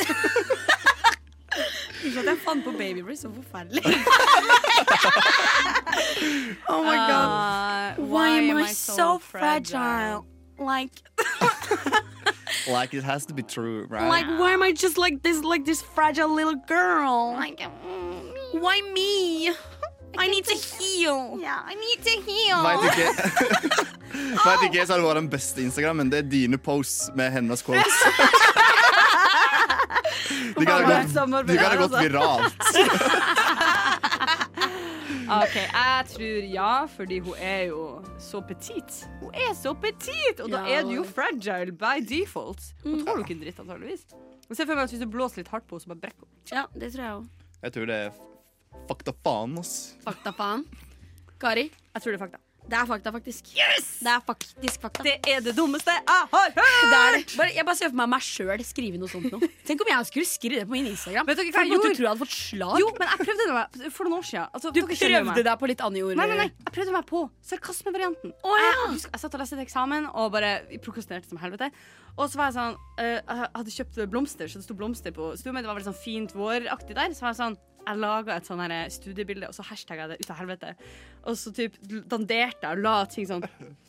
Ikke at jeg fant på baby wrist, så forferdelig. oh my god.
Uh,
Why am I so fragile? Like,
Uh, Like it has to be true, right?
like, why am I just like this, like this fragile little girl? Like, why Oh me? I need to heal. Yeah, I need to heal.
Vet ikke [laughs] Vet ikke hva som hadde vært den beste Instagrammen. Det er dine posts med hennes
[laughs]
quotes. De kan ha gått, de kan ha gått viralt.
Ah, OK, jeg tror ja, fordi hun er jo så petit. Hun er så petit, og da
Ja.
er du jo fragile by default. Hun tåler jo ikke en dritt, antageligvis. Og Se for meg at hvis du blåser litt hardt på henne, så bare brekker hun.
Ja, det tror jeg òg.
Jeg tror det er fakta faen, ass.
Fakta faen. Kari,
Jeg tror det er fakta.
det er fakta, faktisk. Yes! Det er faktisk fakta.
Det er det dummeste jeg har hørt!
Det er det. Bare, jeg bare ser for meg meg sjøl skrive noe sånt nå. Tenk om jeg skulle skrive det på min Instagram.
Vet dere hva
Folk
jeg
måtte
gjorde?
tro jeg hadde fått slag.
Jo, men jeg prøvde det for noen år siden. Altså,
du
dere kjenner jo meg.
prøvde deg på litt andre ord.
Nei, nei, nei, jeg prøvde meg på sarkasmevarianten.
Å, ja.
jeg, husker- jeg satt og leste til eksamen og bare prokrastinerte som helvete. Og så var jeg sånn eh, Jeg hadde kjøpt blomster, så det sto blomster på stummen. Det var veldig sånn fint våraktig der. Så var jeg sånn jeg laga et sånn her studiebilde, og så hashtagga jeg det ut av helvete. Og så typ danderte jeg og la ting sånn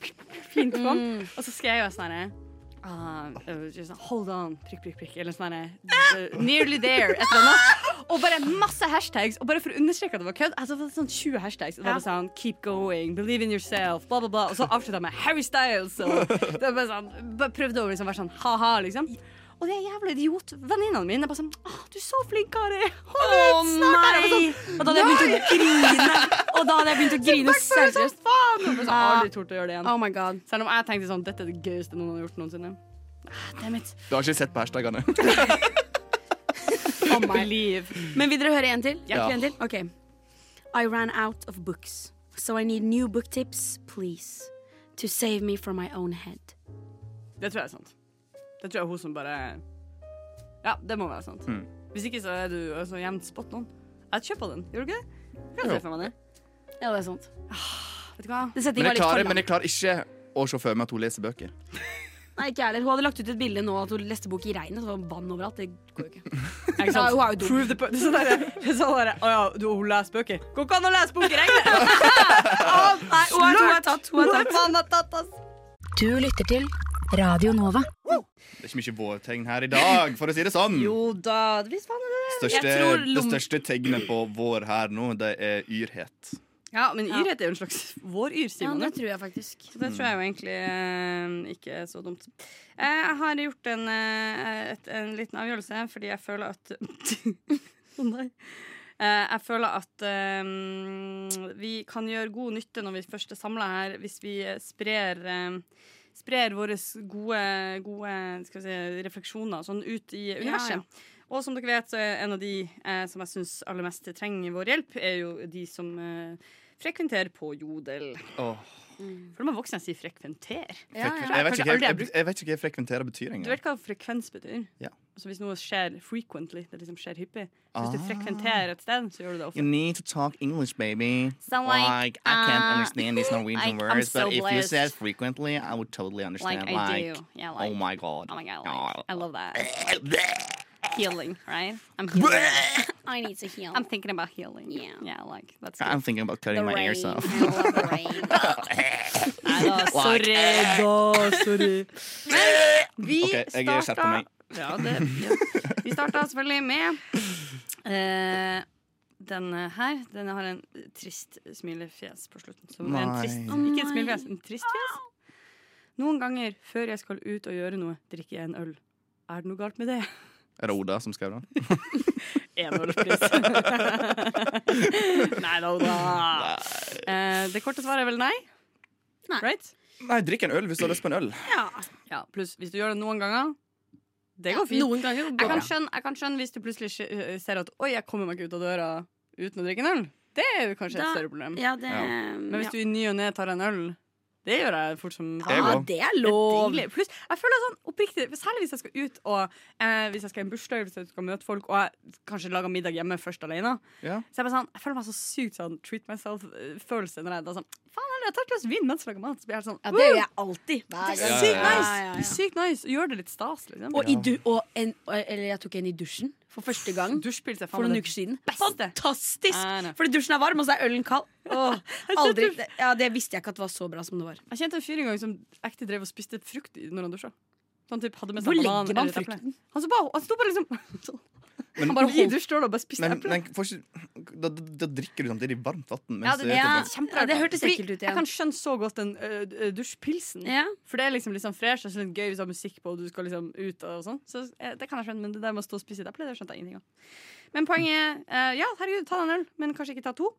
[laughs] fint på. Og så skrev jeg sånn her Uh, uh, just hold on, prikk, prikk, prikk. Eller sånn her, uh, Nearly there. Et eller annet. Og bare masse hashtags. Og bare for å understreke at det var kødd, altså, det var sånn 20 hashtags. Og det var sånn Keep going, believe in yourself, bla, bla, bla. Og så avslutta jeg med Harry Styles. Og det var bare sånn, bare prøvde å liksom være sånn ha-ha, liksom. Og de jævla idiotvenninnene mine er bare sånn Å, du er så flink, Kari. Hold
Å,
ut, snart er jeg
nei!
sånn.
Og da hadde jeg begynt å grine. Og da hadde jeg begynt å grine
Føles som
seriøst.
faen. Og bare sånn,
Ja.
aldri tort å gjøre det igjen.
Oh my god.
Selv om jeg tenkte sånn Dette er det gøyeste noen har gjort noensinne. Ah, Damn it.
Du har ikke sett på hashtagene.
Oh my.
Believe.
Men vil dere høre en til?
Ja.
En til? Ok. I ran out of books, so I need new book tips, please. To save me from my own head.
Det tror jeg er sant. Det tror jeg er hun som bare Ja, det må være sant. Hvis ikke så er du så jevnt spot on. Jeg kjøper den, gjør du ikke det? Kan jeg se for meg det?
Ja, det er sant.
Vet du hva?
Det setter ikke
Men jeg
litt for
klarer, men
langt.
jeg klarer ikke å se for meg at hun leser bøker.
Nei, ikke jeg heller. Hun hadde lagt ut et bilde nå at hun leste bok i regnet. Det var vann overalt. Det går jo
[laughs]
ikke.
Ikke sant?
Ja, hun er jo dum.
Prove the point. Sånn derre sånn der, Å ja, du, hun leser bøker. Går ikke an å lese bøker, jeg! [laughs] Å,
Nei, hun er, hun er tatt. Hun er tatt.
faen meg tatt, ass.
Du lytter til Radio Nova.
Det er ikke mye vårtegn her i dag, for å si det sånn.
Jo da, visst faen er det det.
Største,
Jeg tror
Det
lom-
største tegnet på vår her nå, det er yrhet.
Ja, men yrhet er jo en slags våryr,
[laughs]
sier
Ja,
man jo.
det tror jeg faktisk.
Så det tror jeg jo egentlig eh, ikke er så dumt. Eh, Jeg har gjort en, eh, et, en liten avgjørelse fordi jeg føler at [laughs] Å nei. Eh, Jeg føler at eh, vi kan gjøre god nytte når vi først er samla her, hvis vi eh, sprer eh, Sprer våre gode, gode skal vi si, refleksjoner sånn ut i universet.
ja.
Og som dere vet, så er en av de eh, som jeg syns aller mest trenger vår hjelp, er jo de som eh, frekventerer på Jodel.
Åh,
For de er voksne jeg sier frekventer.
frekven-
ja.
jeg,
Kanskje
vet ikke, hva-
aldri jeg
jeg,
brukte-
jeg vet ikke hva frekventere betyr
Du
engang.
vet hva frekvens betyr?
Ja.
Så hvis noe skjer frequently, det liksom skjer hyppig Så hvis du
Ah.
frekventerer et sted, så gjør du det ofte.
You need to talk English, baby.
So, like,
I can't
uh,
understand
[laughs]
these Norwegian
like, I'm
words,
so
but if you
blessed.
said frequently, I would totally understand.
Like I do. Yeah, like
oh my god.
Oh my god.
Ah.
Like, I love that.
[laughs]
healing, right? I'm healing.
I need to heal.
I'm thinking about healing.
Yeah.
yeah like that's good.
[laughs] I'm thinking about cutting my
[laughs]
ears off.
[laughs]
Nei da, [laughs] sorry da, sorry. Men vi
Ok, jeg
starta
setter meg.
Ja, det, ja. Vi starta selvfølgelig med eh, denne her. Den har en trist smilefjes på slutten. Som er en
Nei.
trist,
Å,
ikke et smilefjes, en trist fjes. Noen ganger før jeg skal ut og gjøre noe, drikker jeg en øl. Er det noe galt med det?
[laughs] Er det Oda som skrev den?
En ølpris. [laughs] nei da, da. Eh, det korte svaret er vel nei?
Nei.
Right?
Nei, drikk en øl hvis du har lyst på en øl.
Ja, pluss hvis du gjør det noen ganger Det går fint
Noen ganger
jeg,
går
kan
det.
skjønne, jeg kan skjønne hvis du plutselig skj- øh, ser at Oi, jeg kommer meg ikke ut av døra uten å drikke en øl Det er jo kanskje
Da-
et større problem
Ja, det,
Ja.
Men hvis du i ny og ned tar en øl Det gjør jeg fort som
Det
ja, det
går.
er
Det er
lov.
deilig. Pluss, jeg føler sånn oppriktig Særlig hvis jeg skal ut og eh, Hvis jeg skal i en bursdag, hvis jeg skal møte folk Og jeg kanskje lager middag hjemme først alene
Ja.
Så jeg bare sånn, jeg føler meg så sykt sånn Treat myself-følelse når jeg da sånn Faen, jeg tar et glass vin mens jeg lager mat Så blir jeg helt sånn,
Ja, det gjør jeg alltid. Hver
Det er
Ja,
sykt nice.
gang. Ja,
ja, ja.
ja, ja.
Det er sykt nice. Og Gjør det litt stas, liksom.
Og, i du, og en, eller jeg tok en i dusjen for første gang
Dusjpils er
for
faen
noen
meg
uker siden.
beste. Nei, nei.
Fantastisk! Fordi dusjen er varm, og så er ølen
[laughs]
kald. Åh, aldri, ja, det visste jeg ikke at det var så bra som det var.
Jeg kjente en fyr en gang som ekte drev og spiste frukt i- når han dusja. Så han typ hadde med seg
Hvor
banan
legger man
eller et eple.
frukten?
Han, så bare, han sto bare liksom [laughs]
Men,
Han bare i
men,
dusjståla og bare spiste eple.
får ikke, da, da, da drikker du samtidig varmt vann.
Ja,
mens
det,
du
ja,
etterpå-
kjemperart.
Ja, det hørtes
Fordi
ekkelt ut igjen.
Jeg kan skjønne så godt den ø, ø, dusjpilsen.
Ja.
For det er liksom litt sånn fresh og så litt gøy hvis du har musikk på og du skal liksom ut og sånn. Så eh, det kan jeg skjønne, men det der med å stå og spise et eple, det skjønte jeg ingenting av. Men poenget er Ja, herregud, ta deg en øl, men kanskje ikke ta to.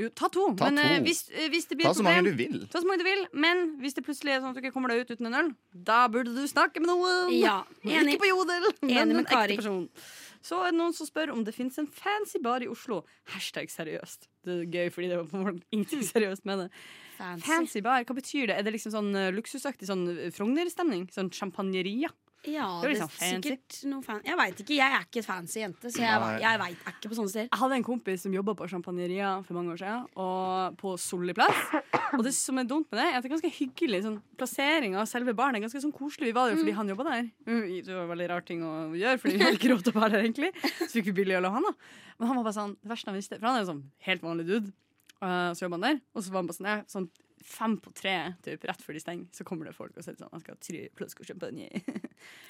Jo, ta to.
Ta
men eh,
to.
hvis, eh, hvis det blir
Ta
et
så mange
problem
du vil.
Ta så mange du vil, men hvis det plutselig er sånn at du ikke kommer deg ut uten en øl, da burde du snakke med noen.
Ja, enig.
Ikke på Jodel, men
Enig med
en ekte
Kari.
person. Så er det noen som spør om det fins en fancy bar i Oslo. Hashtag seriøst. Det er gøy, fordi det var på morgenen [laughs] ingenting seriøst med det.
Fancy.
Fancy bar, hva betyr det? Er det liksom sånn eh, luksusaktig sånn eh, Frogner-stemning? Sånn champagneria?
Ja,
Det er
det er
liksom fancy.
sikkert noe fan Jeg veit ikke. Jeg er ikke et fancy jente, så jeg,
Nei.
jeg vet, er ikke på sånne steder.
Jeg hadde en kompis som jobba på champagneria for mange år siden, og på Solli plass. Og det som er dumt med det, er at det er ganske hyggelig sånn, plassering av selve baren. er ganske sånn koselig. Vi var der jo fordi han jobba der. Mm, Det var en veldig rar ting å gjøre, fordi vi hadde ikke råd til å være der, egentlig. Så fikk vi billig øl av han, da. Men han var bare sånn Det verste han visste For han er jo sånn helt vanlig dude. Eh, så jobba han der, og så var han bare sånn, ja, sånn fem på tre, typ, rett før de stenger, så kommer det folk og sier sånn Han skal ha tre flasker champagne.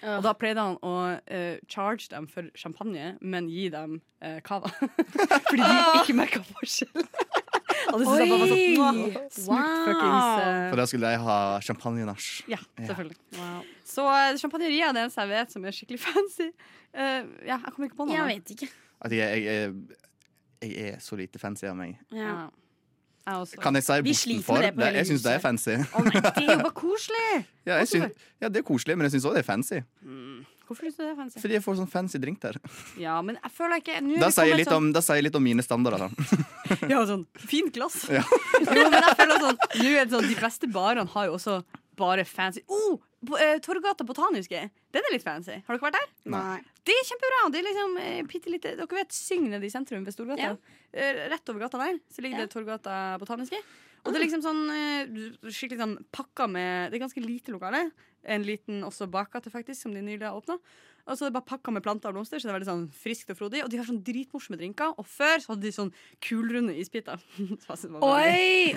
Og da pleide han å eh, charge dem for champagne, men gi dem eh, cava. [laughs] Fordi de ikke merka forskjell. [laughs] Og det synes jeg bare var sånn «Mwah, Smurt fuckings eh,
For da skulle jeg ha champagne-nach.
ja, selvfølgelig. Så eh, champagneria er det eneste jeg vet som er skikkelig [laughs] fancy. Eh, ja, jeg kommer ikke på noe.
Jeg vet ikke.
At jeg, jeg, jeg, jeg er så lite fancy av meg.
Ja.
Ja. Jeg også.
Kan jeg si
Vi sliter med
bortenfor?
det på hele
jeg syns det er
huset.
fancy.
Å nei, det er jo bare koselig!
Ja, jeg syns- ja, det er koselig, men jeg syns òg det er fancy.
Hvorfor syns du det er fancy?
Fordi jeg får sånn fancy drink der.
Ja, men jeg føler ikke nå er
Da
vi
sier jeg
kommet sånn-
sånn.
litt om, da sier jeg litt om mine standarder. da.
[laughs] Ja, sånn fint
[laughs]
glass. [laughs] jo, men jeg føler sånn, nå er det sånn De beste barene har jo også bare fancy oh, bo- eh, Torgata Botaniske. Den er litt fancy. Har dere vært der?
Nei.
Det er kjempebra. Det er liksom eh, pittelite Dere vet Syng nede i sentrum ved Storgata. Eh, Rett over gata der så ligger det Torgata Botaniske. Og det
Ah.
er liksom sånn eh, du- skikkelig sånn pakka med Det er ganske lite lokale. En liten også bakgate, faktisk, som de nylig har åpna. Og så er det bare pakka med planter og blomster, så det er veldig sånn friskt og frodig. Og de har sånn dritmorsomme drinker. Og før så hadde de sånn kulrunde isbiter. [laughs] sånn- Oi!
Oi!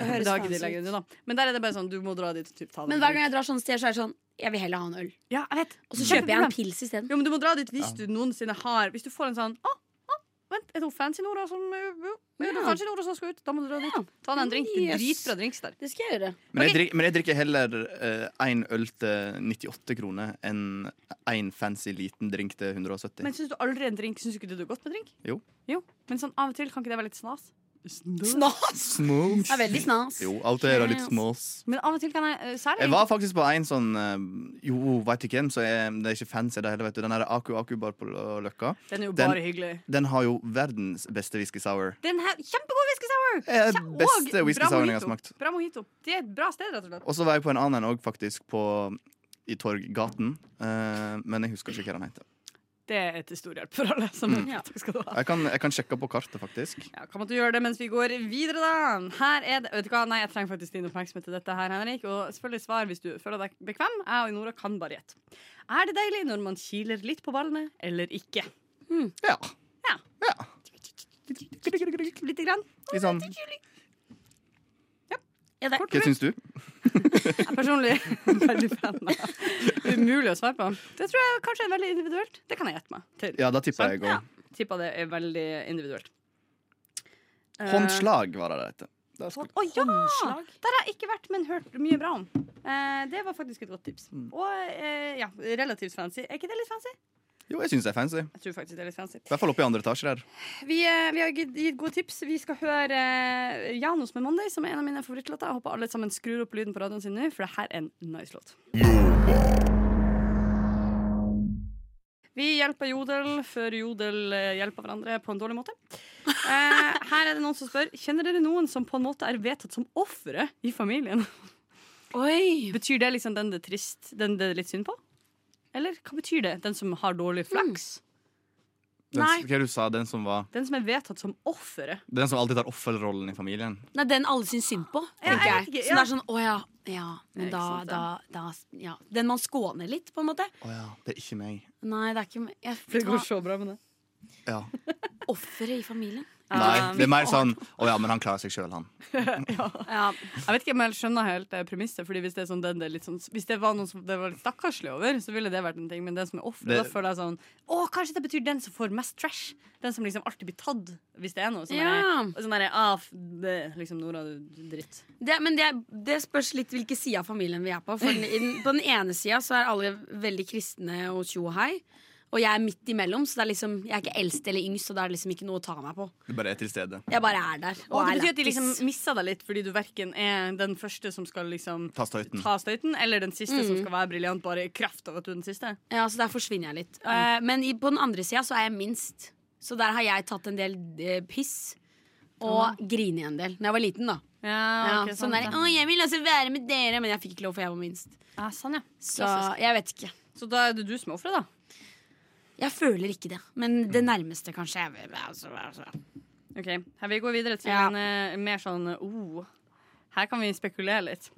I
Høres
dag
faen
gidder jeg
sånn
legge
ut.
det ut, da. Men der er det bare sånn, du må dra dit og typ, ta deg
Men
en
hver
drink.
gang jeg drar sånn sted, så er det sånn Jeg vil heller ha en øl.
Ja, jeg vet.
Og så kjøper jeg en pils isteden.
Jo, men du må dra dit hvis du noensinne har Hvis du får en sånn Å, å, vent, er det noen fancy Nora som uh, uh, Er det noen
Ja.
fancy Nora som skal ut? Da må du dra dit. Ta deg en drink. Det er
Yes.
dritbra drinks der.
Det skal jeg gjøre.
Men, jeg drikker, men jeg drikker heller én øl til 98 kroner enn én fancy liten drink til 170.
Men syns du aldri en drink Syns du ikke det er godt med drink?
Jo.
Men sånn av og til kan ikke det være litt snas?
Snas!
Smooth.
Det er veldig snas.
Jo, alt er da litt smås.
Men av og til kan jeg eh, Særlig
Jeg var faktisk på en sånn eh, Jo, veit du hvem, så er, det er ikke fancy det heller, vet du. Den her Aku Aku Bar på Lø- Løkka.
Den er jo
Den-
bare hyggelig.
Den har jo verdens beste whisky sour.
Den her, Kjempegod whisky sour!
Eh,
Kje- og
beste
bra
whisky sour jeg har
mojito.
smakt.
Bra mojito. Det er et bra sted, rett og slett.
Og så var jeg på en annen òg, faktisk, på, i Torggaten. Eh, men jeg husker ikke hva den heter.
Det er til stor hjelp for alle. Som,
Mm.
Ja.
Takk skal du ha.
Jeg kan, jeg kan sjekke på kartet, faktisk.
Ja, kan man ikke gjøre det mens vi går videre, da? Her er det, vet du hva, Nei, jeg trenger faktisk din oppmerksomhet til dette her, Henrik. Og selvfølgelig svar hvis du føler deg bekvem. Jeg og Nora kan bare gjette. Er det deilig når man kiler litt på ballene, eller ikke?
Ja.
Ja.
ja.
Lite grann.
Litt sånn
Ja, det er
Hva syns du?
Jeg er personlig [laughs] veldig fan av. Umulig å svare på. Det tror jeg kanskje er veldig individuelt. Det kan jeg gjette meg til.
Ja, da tipper jeg òg.
Ja. Tipper det er veldig individuelt. Eh,
Håndslag var det det heter. Da
Å
skulle-
ja!
håndslag.
Der har jeg ikke vært, men hørt mye bra om. Eh, det var faktisk et godt tips. Og eh, ja, relativt fancy. Er ikke det litt fancy?
Jo, jeg syns det er fancy. I
Jeg tror faktisk det er litt fancy.
hvert fall oppe i andre etasje der.
Vi, eh, vi har gitt gitt gode tips. Vi skal høre eh, Janos med 'Monday', som er en av mine favorittlåter. Jeg håper alle sammen skrur opp lyden på radioen sin nå, for det her er en nice låt. Vi hjelper Jodel før Jodel eh, hjelper hverandre på en dårlig måte. Eh, her er det noen som spør Kjenner dere noen som på en måte er vedtatt som offeret i familien.
Oi!
Betyr det liksom den det er trist, den det er litt synd på? Eller hva betyr det? Den som har dårlig flaks?
Den,
Nei.
Hva du sa den som var
Den som er vedtatt som offeret?
Den som alltid tar offerrollen i familien.
Nei, den alle syns synd på,
Ja,
tenker
jeg
jeg.
vet ikke,
Så det
ja.
er sånn, å ja, ja, men
Ikke
da,
sant,
da, da ja. Den man skåner litt, på en måte.
Å ja, det er ikke meg.
Nei, det er ikke jeg,
så bra med det.
Ja.
Ta offeret i familien.
Um,
Nei, det er mer sånn Å ja, men han klarer seg sjøl, han.
Ja,
Jeg vet ikke om jeg skjønner helt det premisset. Fordi Hvis det er sånn den det, er litt sånn, hvis det var noen som det var litt stakkarslig over, så ville det vært en ting. Men den som er offer,
Det-
da føler jeg sånn Å, kanskje det betyr den som får mest trash. Den som liksom alltid blir tatt, hvis det er noe. Sånn
Ja.
derre- sånn derre ah, f- det- Liksom Nora, du dritt.
det, men det, det spørs litt hvilken side av familien vi er på. For i den, på den ene sida så er alle veldig kristne og tjo og hei. Og jeg er midt imellom, så det er liksom, jeg er ikke eldst eller yngst. Så det er liksom ikke noe å ta meg på.
Du bare er til stede.
Jeg bare er der. Og,
Og det
er
betyr at de
lættis.
liksom misser deg litt, fordi du verken er den første som skal liksom
Ta støyten.
ta støyten, eller den siste som skal være briljant bare i kraft av at du er den siste.
Ja, så der forsvinner jeg litt. Eh,
Mm.
men i, på den andre sida så er jeg minst. Så der har jeg tatt en del eh, piss. Og grinet en del. Når jeg var liten, da. Ja,
Ja,
sånn der, 'Å, jeg vil også være med dere', men jeg fikk ikke lov, for jeg var minst.
ja, sånn, ja.
Så jeg vet ikke.
Så da er det du som er offeret, da.
Jeg føler ikke det. Men det nærmeste, kanskje. Jeg, vil- altså, altså.
Ok, her Vi går videre til
Ja.
en eh, mer sånn oh, Her kan vi spekulere litt.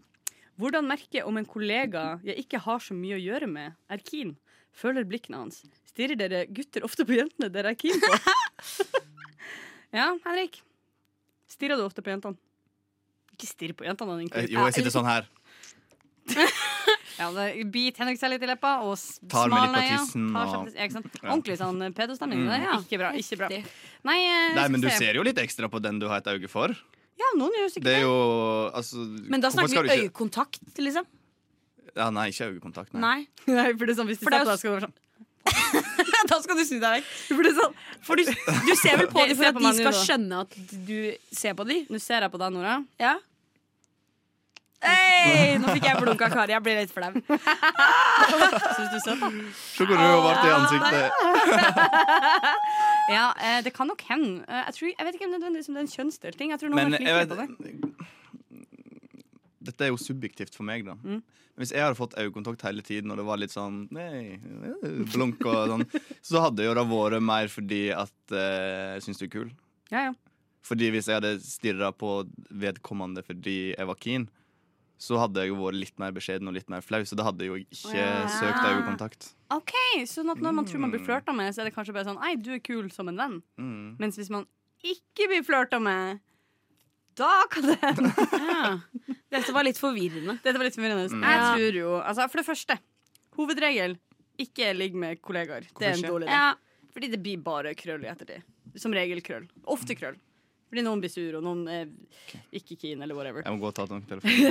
Hvordan merke om en kollega jeg ikke har så mye å gjøre med, er keen? Føler blikkene hans. Stirrer dere gutter ofte på jentene dere er keen på? ja, Henrik. Stirrer du ofte på jentene? Ikke stirr på jentene. Henrik.
Eh, Jo, jeg sitter sånn her.
Ja, det- Bit Henrik seg litt i leppa og s-
Tar meg litt
smal
på
øya.
tissen
Tar
og-
seg på tissen, ja, ikke sant?
Ja.
Ordentlig sånn eh, pedostemning. det der.
Ja.
Ikke bra. ikke bra
Heftig.
Nei, eh,
Nei, men
skal
du
se.
ser jo litt ekstra på den du har et øye for.
Ja, noen gjør jo sikkert
Det er jo altså
Men da
hvorfor
snakker
skal
vi
du ikke-
øyekontakt, liksom.
Ja, nei, ikke øyekontakt. Nei.
Nei.
[laughs] Nei, for det er sånn hvis de
For det er
setter
jo
deg, skal du være sånn
[laughs] da skal du snu deg vekk.
For det er sånn
For du, du ser vel
Se
på dem for
på
at de
meg nå,
skal
da.
skjønne at du ser på dem?
Nå ser jeg på deg, Nora.
Ja. Hei, nå
[laughs]
fikk jeg blunk av Kari. Jeg blir litt flau.
Syns du er søt, da?
Se hvor rød hun ble i ansiktet.
Ja, eh, det kan nok hende. Eh, Jeg, tror, jeg vet ikke om nødvendigvis om det er en kjønnsdelt ting. Jeg tror noen
Men eh,
er
jeg
flinkere på det.
vet Dette er jo subjektivt for meg, da. Men Hvis jeg hadde fått øyekontakt hele tiden, og det var litt sånn nei, eh, blunk og sånn, så hadde jo det vært mer fordi at eh, jeg syns du er kul.
Ja, ja.
Fordi hvis jeg hadde stirra på vedkommende fordi jeg var keen, så hadde jeg jo vært litt mer beskjeden og litt mer flau, så da hadde jeg jo ikke
Ja.
søkt øyekontakt.
OK, sånn at når man tror man blir flørta med, så er det kanskje bare sånn Ei, du er kul som en venn.
Mm.
Mens hvis man ikke blir flørta med, da kan det hende. [laughs]
Dette var litt forvirrende.
Dette var litt forvirrende. Jeg tror jo altså, For det første, hovedregel ikke ligg med kollegaer. Det er en
ikke?
dårlig idé.
Ja.
Fordi det blir bare krøll i ettertid. Som regel krøll. Ofte krøll. Fordi noen blir sur, og noen er ikke keen, eller whatever.
Jeg må gå og ta noen telefoner.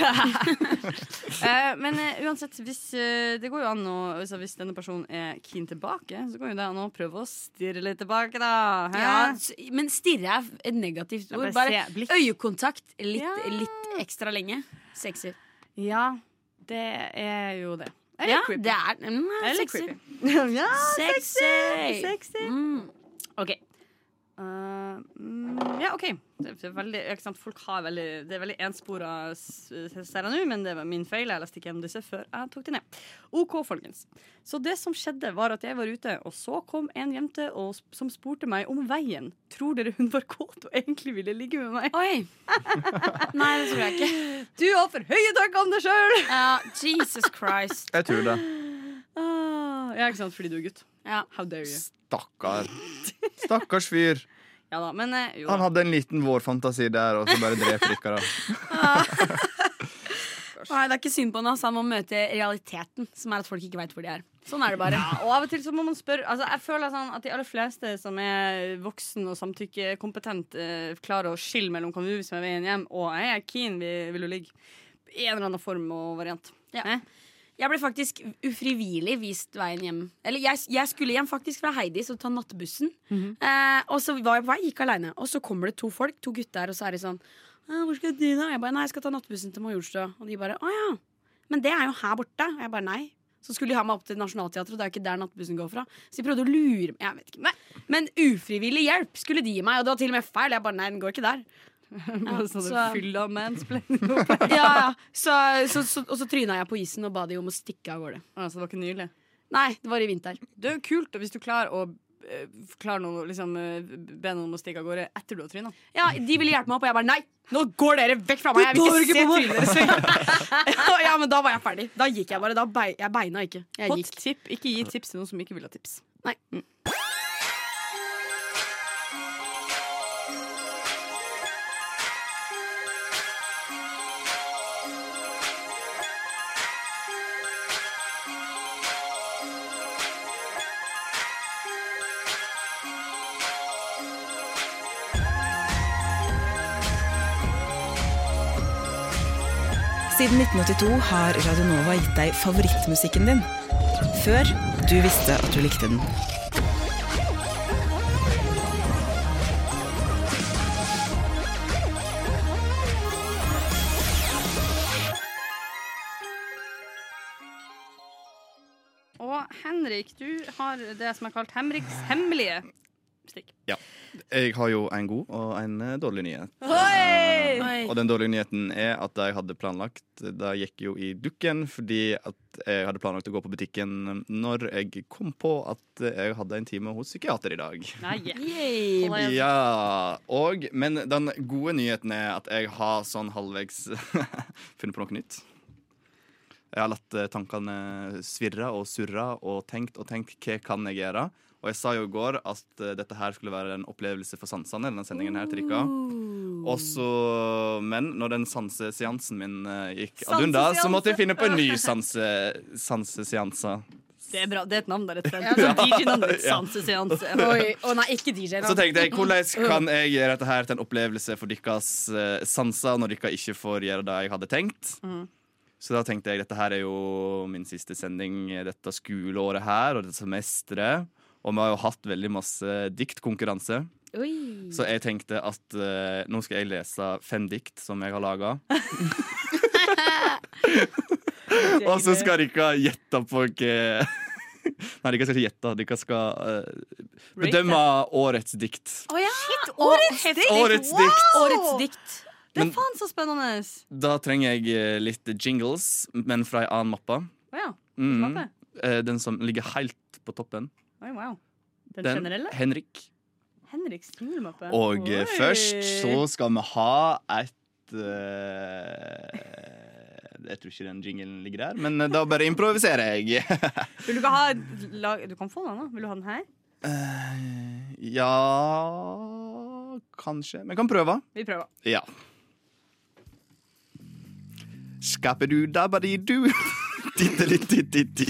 Eh, men eh, uansett, hvis, eh, det går jo an å, altså, hvis denne personen er keen tilbake, så går jo det an å prøve å stirre litt tilbake, da. Hæ?
Ja, s- men stirre er et negativt
Ja,
ord.
bare
Bare
se, blikk.
øyekontakt litt,
Ja.
litt ekstra lenge. Sexy.
ja, det er jo det. Eller
Ja,
creepy.
det er mm,
Eller
sexy.
creepy. [laughs] ja,
Sexy!
sexy.
Mm.
OK. Eh, mm, ja, OK. Det er veldig, ikke sant? Folk har veldig, det er veldig enspora s- serier nå, men det var min feil. Jeg leste ikke gjennom disse før jeg tok det ned. OK, folkens. Så det som skjedde, var at jeg var ute, og så kom en jente og, s- som spurte meg om veien. Tror dere hun var kåt og egentlig ville ligge med meg?
Oi! Nei, det tror jeg ikke.
Du har for høye tanker om deg sjøl!
Ja, Jesus Christ.
Jeg tror det.
Ah, ja, ikke sant? Fordi du er gutt.
Ja.
How dare you?
Stakkar. Stakkars fyr.
Ja da, men eh, jo
Han
da.
hadde en liten vårfantasi der, og så bare dreper dere. da.
Nei, det er ikke synd på han. ass. Han må møte realiteten, som er at folk ikke veit hvor de er. Sånn er det bare.
Ja, og av og til så må man spørre altså, Jeg føler sånn at de aller fleste som er voksen og samtykkekompetent, eh, klarer å skille mellom kan du som er veien hjem og jeg er keen, vi vil jo ligge. I en eller annen form og variant.
Ja.
Eh?
Jeg ble faktisk ufrivillig vist veien hjem. Eller jeg, jeg skulle hjem faktisk fra Heidis og ta nattbussen. eh, og så var jeg på vei, gikk aleine. Og så kommer det to folk, to gutter, og så er de sånn «Ah, 'Hvor skal du da?' Jeg bare 'Nei, jeg skal ta nattbussen til Majorstua'. Og de bare 'Å ja, men det er jo her borte'. Og jeg bare 'Nei'. Så skulle de ha meg opp til Nationaltheatret, og det er jo ikke der nattbussen går fra. Så de prøvde å lure meg. Jeg vet ikke. Nei. Men ufrivillig hjelp skulle de gi meg, og det var til og med feil. Jeg bare 'Nei, den går ikke der'.
[laughs] Bare sånn
så-
fyll av mansplaining. Å,
[laughs] ja, ja. Så, så, så, og så tryna jeg på isen og ba de om å stikke av gårde.
Så Altså, det var ikke nylig.
Nei, det var i vinter.
Det er jo kult hvis du klarer å eh, klarer noe, liksom, eh, be noen om å stikke av gårde etter du har tryna.
Ja, De ville hjelpe meg opp, og jeg bare nei! Nå går dere vekk fra meg! Jeg vil ikke se trynet deres lenger. [laughs] ja, men da var jeg ferdig. Da gikk jeg bare. Da bei, jeg beina ikke. Jeg
Hot
gikk.
tip. Ikke gi tips til noen som ikke vil ha tips.
Nei.
Siden 1982 har Radionova gitt deg favorittmusikken din. Før du visste at du likte den.
Og Henrik, du har det som er kalt Henriks hemmelige stikk.
Jeg har jo en god og en eh, dårlig nyhet.
Oi.
Og den dårlige nyheten er at det jeg hadde planlagt, det gikk jo i dukken fordi at jeg hadde planlagt å gå på butikken når jeg kom på at jeg hadde en time hos psykiater i dag.
Nei, altså. yeah.
Yay.
Hold igjen.
Ja, og, Men den gode nyheten er at jeg har sånn halvvegs [laughs] funnet på noe nytt. Jeg har latt eh, tankene svirre og surre og tenkt og tenkt hva kan jeg gjøre. Og jeg sa jo i går at eh, dette her skulle være en opplevelse for sansene. denne sendingen her til dere. Og så- Men når den sanseseansen min eh, gikk ad undas, så måtte jeg finne på en ny sanse, sanseseanse.
Det er bra. Det er et navn der et sted. Sånn DJ-navn der,
Ja. [laughs]
sanseseanse.
Oi. Å nei, ikke DJ.
Så tenkte jeg, hvordan kan jeg gjøre dette her til en opplevelse for deres eh, sanser når dere ikke får gjøre det jeg hadde tenkt? Så da tenkte jeg, dette her er jo min siste sending dette skoleåret her, og dette semesteret. Og vi har jo hatt veldig masse diktkonkurranse.
Oi.
Så jeg tenkte at eh, nå skal jeg lese fem dikt som jeg har laga. [laughs] og så skal dere gjette på hva [laughs] Nei, dere skal ikke gjette. Dere skal eh, bedømme årets dikt.
Å ja. årets dikt!
Årets dikt!
Årets dikt.
Det er
Men-
faen så spennende!
Da trenger jeg eh, litt jingles, men fra ei annen mappe.
Å ja.
Mhm.
mappe?
Eh, Den som ligger helt på toppen.
Oi, wow. Den,
Den
generelle?
Henrik
Henriks julemappe.
Og eh,
Oi.
først så skal vi ha et eh, Jeg tror ikke den jinglen ligger der, men eh, da bare improviserer jeg. [laughs]
Vil du ikke ha et lag Du kan få den, da. Vil du ha den her?
ja Eh, Kanskje. Vi kan prøve.
Vi prøver.
Ja. Skapedu [laughs] dabadidu. Tittelitt-titti-ti.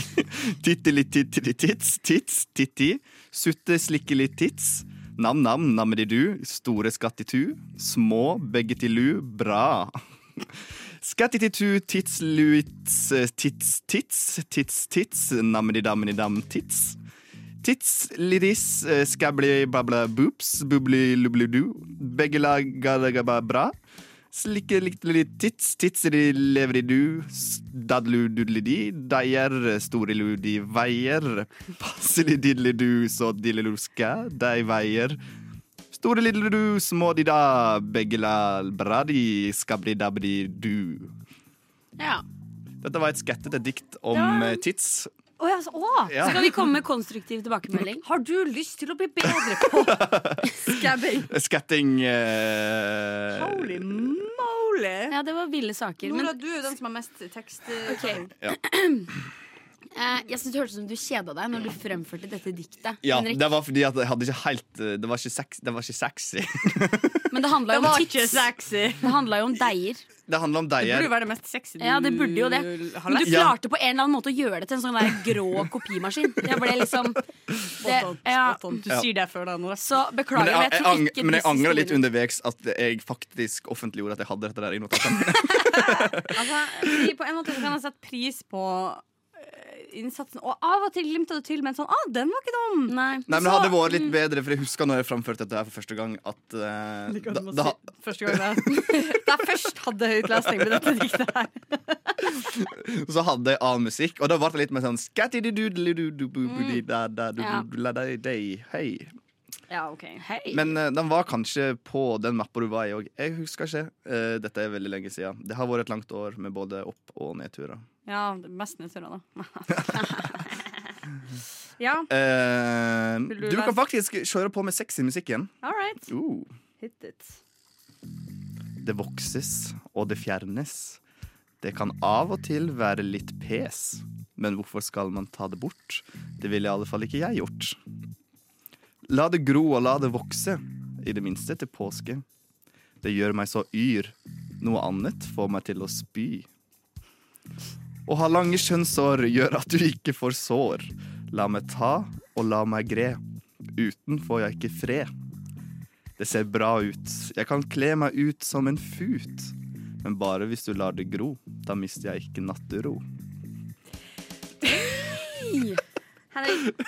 Tittelitt-tittelitt-tits. Tits, titti. Sutte slikkelitt tits. Nam-nam, nammedidu. Store skattitu. Små beggetilu. Bra. [laughs] Skattititu, tidsluits, tits, tits, tits, tits, nammedidammenidam-tits. Tits, lidis, eh, skabli, babla, boops, bubli, lubli, du. Begge lag, gadagaba, bra. Slikke, litt, litt, tits, titseri, lever i du. Dadlu, dudli, di, deier, store lu, de veier. Passelig, didli, du, så dilleluska, de veier. Store lille du, små di da, begge la bra di, skabli dabli du.
Ja.
Dette var et skattete dikt om
Ja.
eh, tits.
Å, ja, så- å!
Ja.
Skal vi komme med konstruktiv tilbakemelding?
Har du lyst til å bli bedre
[laughs]
på skabbing?
Skatting eh,
Holy moly!
Ja, det var ville saker.
Nora,
men-
du er jo den som har mest tekst. eh, sang.
Ja.
[clears throat] Eh, jeg synes Det hørtes ut som du kjeda deg når du fremførte dette diktet.
Ja,
Henrik.
det var fordi at jeg hadde ikke helt eh, Det var ikke, sex, det var ikke sexy.
Men det handla
Det
jo om
var
tits.
ikke sexy.
Det handla jo om deier.
Det handler om
Det burde
deier.
jo være det mest sexy
Ja, det burde jo det.
har
Men du
lest.
Ja.
klarte på en eller annen måte å gjøre det til en sånn der grå kopimaskin. Jeg ble [laughs] liksom det,
Spot on,
ja.
spot on. Du
Ja.
sier det før deg, Nora.
Så
Men
beklager, men
jeg, jeg,
jeg tror
ang,
ikke
men jeg
disse
angrer litt
historiene-
underveis at jeg faktisk offentliggjorde at jeg hadde dette der i notatene.
[laughs] Altså, fordi på en måte så kan jeg sette pris på eh, innsatsen, og av og til glimta du til med en sånn ah, 'Den var ikke dum'.
Nei.
Nei, men det hadde vært litt bedre, for jeg husker når jeg framførte dette her for første gang, at eh,
Like at
da,
du må
da,
si- Første gang det [laughs] Da jeg først hadde høytlesning med dette diktet her.
så hadde jeg annen musikk, og da ble det litt mer sånn skattididudelidudububudidadadududladei, Hei.
Ja, ok
Men eh, den var kanskje på den mappa du var i òg. Jeg husker ikke. Eh, dette er veldig lenge siden. Det har vært et langt år med både opp- og nedturer.
Ja, det er mest nedturer, da. [laughs] ja,
Eh,
Vil du
du kan
lese?
faktisk kjøre på med sexy musikk igjen.
all right.
Uh.
Hit it.
Det vokses, og det fjernes. Det kan av og til være litt pes, men hvorfor skal man ta det bort? Det ville i alle fall ikke jeg gjort. La det gro og la det vokse, i det minste til påske. Det gjør meg så yr. Noe annet får meg til å spy. Å ha lange kjønnsår gjør at du ikke får sår. La meg ta og la meg gre. Uten får jeg ikke fred. Det ser bra ut. Jeg kan kle meg ut som en fut. Men bare hvis du lar det gro. Da mister jeg ikke nattero.
[coughs] Henrik,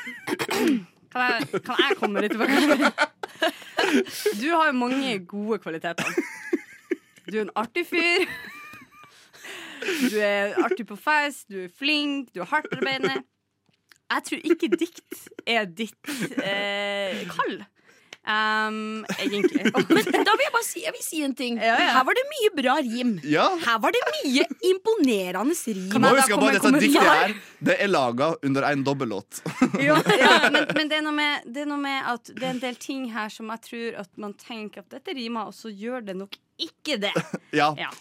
kan jeg, kan jeg komme litt tilbake? [laughs] Du har jo mange gode kvaliteter. Du er en artig fyr. Du er artig på fest, du er flink, du er hardtarbeidende. Jeg tror ikke dikt er ditt eh, kall. Um, egentlig. [laughs]
Men da vil jeg bare si, jeg vil si en ting.
Ja, ja.
Her var det mye bra rim.
Ja!
Her var det mye imponerende
Du
rim.
må
jeg da
huske på
komme
at
med
dette diktet
kommentar?
her Det er laga under en dobbellåt. [laughs]
Ja, ja, men, men det, er noe med, det er noe med at det er en del ting her som jeg tror at man tenker at dette rimer, og så gjør det nok ikke det.
Ja.
Ja.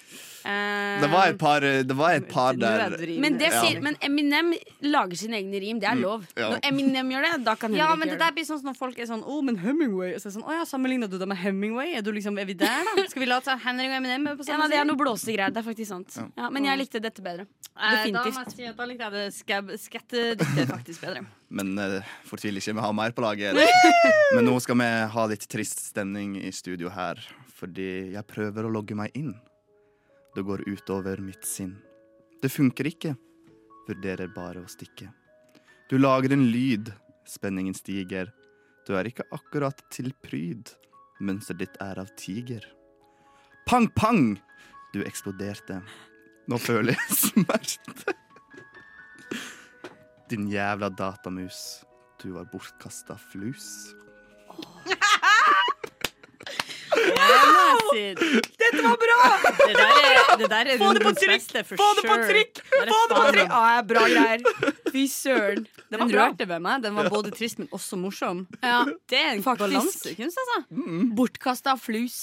Det var et par, det var et par der
Men, det
Ja. Mm.
sier, men Eminem lager sine egne rim. Det er lov.
ja.
Når Eminem gjør det, da kan
ja,
Henrik
men det
gjøre
der blir sånn som når folk er sånn Å, men Hemingway Og så er det sånn, å ja, sammenligner du det med Hemingway? Er, du liksom, er vi der, da? Skal vi late Henrik og Eminem er på
Ja,
samme
nei, det er noe blåste greier. Det er faktisk sant. Ja, men jeg likte dette [laughs] bedre.
Eh, Da,
Definitivt.
må jeg si at da likte jeg det skab skattediktet faktisk bedre.
Men eh, fortvil ikke, vi har mer på laget. Men nå skal vi ha litt trist stemning i studio her, fordi jeg prøver å logge meg inn. Det går utover mitt sinn. Det funker ikke. Vurderer bare å stikke. Du lager en lyd. Spenningen stiger. Du er ikke akkurat til pryd. Mønsteret ditt er av tiger. Pang, pang! Du eksploderte. Nå føler [laughs] jeg smerte. Din jævla datamus. Du var bortkasta flus.
Det må Dette var bra! Det der er, det der er
Få det på
rundens
trykk!
beste, for
Få det på
sure.
trykk!
Der er
Få det på
faen
trykk!
meg-
Ja, ja, bra greier. Fy søren.
Den rørte ved meg. Den var både trist, men også morsom.
Ja.
Det er en
Faktisk.
balansekunst, altså.
Bortkasta flus.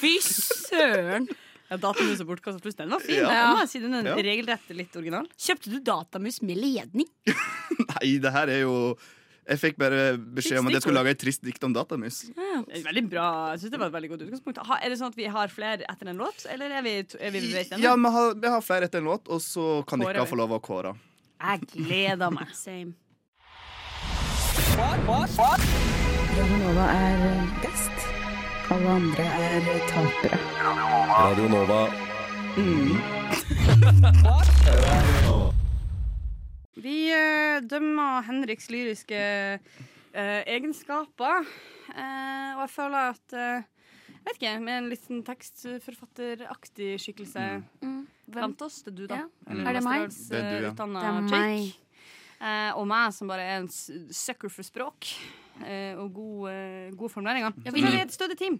Fy søren.
Ja, Datamus og bortkastet pluss, den var fin.
Ja.
Den må jeg si, den er
Ja.
regelrett litt original.
Kjøpte du datamus med ledning?
Nei, det her er jo Jeg fikk bare beskjed om at jeg skulle lage et trist dikt om datamus.
Det er Veldig bra. Jeg synes det var et veldig godt utgangspunkt. Ha, er det sånn at vi har flere etter en låt, eller er vi, to- er vi ved
Ja, men ha- Jeg har flere etter en låt, og så kan
Kårer
dere
vi.
få lov å kåre.
Jeg gleder meg. Same.
Radionova er best. Alle andre er tapere.
Radio Nova.
Vi eh, dømmer Henriks lyriske eh, egenskaper, eh, og jeg føler at eh, jeg vet ikke, Med en litt sånn tekstforfatteraktig skikkelse blant oss. Det er du, da.
Mm. Ja. Er det meg?
Mm. Det er du, ja.
Utdanna
Det er meg.
chick. Eh, og meg, som bare er en s- sucker for språk eh, og gode, gode formuleringer. Så tror jeg vi er et stødig team.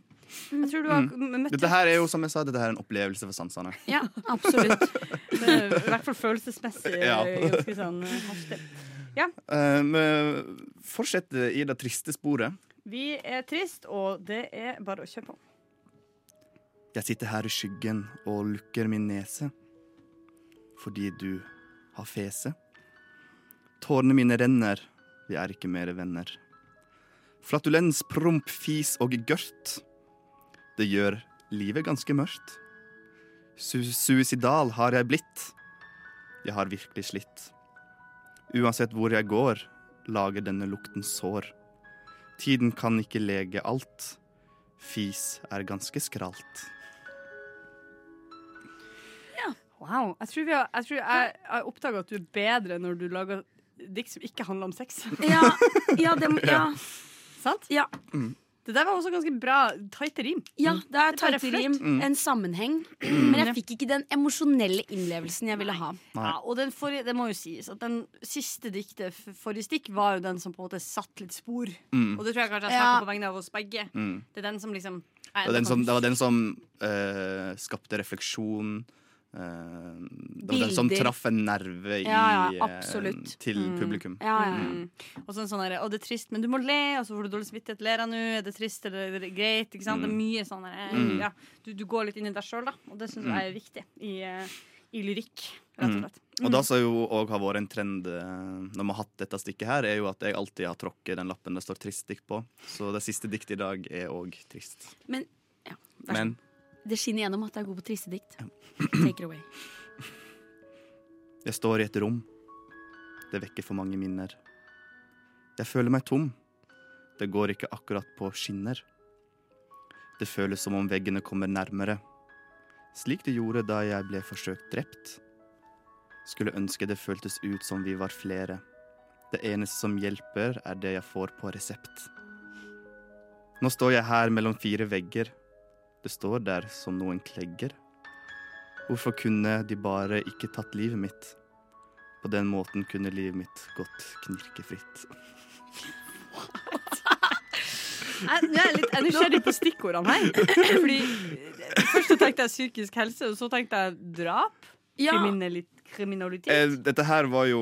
Mm.
Jeg tror du har m- møtt
Mm. Dette her er jo, som jeg sa, dette her er en opplevelse for sansene.
Ja, absolutt.
opp, eh, I hvert fall følelsesmessig
[laughs] Ja.
eh, ganske sånn eh, heftig.
Eh, men fortsett i det triste sporet.
Vi er trist, og det er bare å kjøre på.
Jeg sitter her i skyggen og lukker min nese fordi du har fese. Tårene mine renner, vi er ikke mere venner. Flatulens, promp, fis og gørt. Det gjør livet ganske mørkt. Su suicidal har jeg blitt. Jeg har virkelig slitt. Uansett hvor jeg går, lager denne lukten sår. Tiden kan ikke lege alt. Fis er ganske skralt.
Wow. Jeg tror, vi har, jeg, tror jeg, jeg oppdager at du er bedre når du lager dikt som ikke handler om sex. [laughs]
Ja, ja, det,
[laughs]
må- ja.
Sant?
Ja.
Mm.
Det der var også ganske bra tighte rim.
ja Mm. det er
Det er
Mm.
bare
tighte rim, en sammenheng. Men jeg fikk ikke den emosjonelle innlevelsen jeg ville ha.
Ja, og den forrige, det må jo sies at den siste diktet f- forrige stikk var jo den som på en måte satt litt spor. Og det tror jeg kanskje jeg snakker
Ja.
på vegne av oss begge.
Mm.
Det er den som liksom
Det var den som, det var den som eh, skapte refleksjon. eh, det var den som
Bilder.
traff en nerve i,
Ja, ja,
eh,
absolutt. Mm.
til publikum.
Ja, ja, ja.
Mm. Og så en sånn derre 'Å, det er trist, men du må le', og så får du dårlig samvittighet. Ler jeg nå? Er det trist? Eller er det greit? Ikke sant? Det er mye sånn derre
Mm.
ja, du, du går litt inn i deg sjøl, da. Og det syns
Mm.
jeg er viktig i, eh, i lyrikk, rett og
Mm.
slett.
Og da som jo òg har vært en trend eh, når vi har hatt dette stikket her, er jo at jeg alltid har tråkket den lappen det står 'trist' dikt på. Så det siste diktet i dag er òg trist.
Men- ja, vær så
Men
Det skinner gjennom at jeg er god på triste dikt. Take it away.
Jeg står i et rom. Det vekker for mange minner. Jeg føler meg tom. Det går ikke akkurat på skinner. Det føles som om veggene kommer nærmere. Slik det gjorde da jeg ble forsøkt drept. Skulle ønske det føltes ut som vi var flere. Det eneste som hjelper, er det jeg får på resept. Nå står jeg her mellom fire vegger. Det står der som noen klegger. Hvorfor kunne de bare ikke tatt livet mitt? På den måten kunne livet mitt gått knirkefritt.
Jeg, jeg er litt jeg er nysgjerrig på stikkordene her. [laughs] Fordi eh, Først så tenkte jeg psykisk helse, og så tenkte jeg drap. Kriminali
Eh,
kriminalitet.
dette her var jo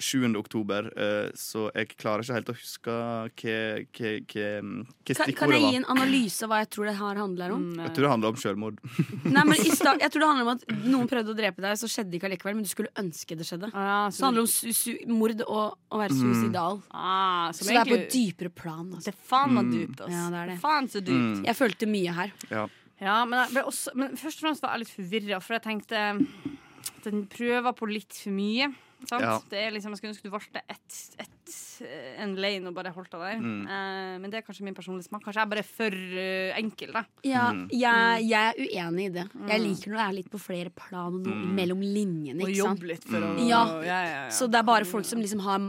7. oktober, eh, så jeg klarer ikke helt å huske hva, hva, hva, hva
Kan, kan
stikkordet
jeg gi
var.
en analyse av hva jeg tror det her handler om?
Mm,
Jeg
eh,
tror det handler om selvmord.
Nei, men i sta- Jeg tror det handler om at noen prøvde å drepe deg, så skjedde det ikke allikevel, men du skulle ønske det skjedde.
ah,
Så det handler om su su mord og å
Mm.
være suicidal.
ah,
Så
som
det er på
egentlig,
et dypere plan.
Det
Altså.
er faen meg dypt, ass.
Ja, det er det.
Faen så dypt.
Mm.
Jeg følte mye her.
Ja.
Ja, men, jeg ble også, men først og fremst var jeg litt forvirra, for jeg tenkte at den prøver på litt for mye. Sant?
Ja.
Det er liksom, jeg skulle ønske du valgte ett, ett, eh, en lane og bare holdt deg der.
Mm.
Eh, men det er kanskje min personlige smak. Kanskje jeg er bare for eh, enkel, da.
Ja, jeg, jeg er uenig i det. Jeg liker når det er litt på flere plan og noe mellom linjene.
Og
Ikke sant?
jobbe litt for å
Mm.
Ja.
ja, ja, ja.
Så det er bare folk som liksom har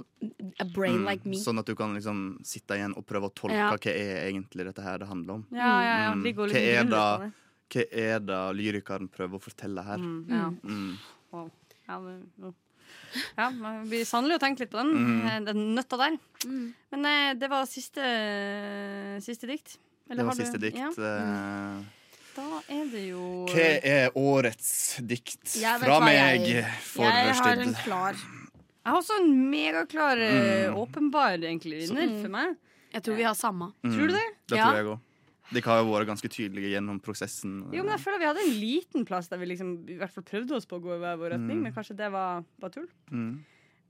a brain like me.
Sånn at du kan liksom sitte igjen og prøve å tolke
Ja.
hva er egentlig dette her det handler om.
ja, ja, ja.
Mm.
Ligger og
Hva
liksom
er
gruller på
det?
det.
Hva er det lyrikeren prøver å fortelle her?
Ja.
Mm.
Wow. Ja, men- wow. ja, man blir sannelig å tenke litt på den.
Mm.
eh, Den nøtta der.
Mm.
Men eh, det var siste, siste dikt. Eller
Det var
har du- Mm.
siste dikt.
Ja.
eh,
Da er det jo eh,
Hva er årets dikt
Jeg vet
fra
hva
meg
jeg-
for
jeg har
Rushtid?
en klar. Jeg har også en megaklar, eh, åpenbar egentlig vinner
Så-
for meg.
Jeg tror vi har samme.
Mm,
Tror du det?
Det tror jeg òg. Dere har jo vært ganske tydelige gjennom prosessen.
Jo, men jeg føler vi hadde en liten plass der vi liksom i hvert fall prøvde oss på å gå i hver vår retning,
Mm.
men kanskje det var bare tull.
Mm.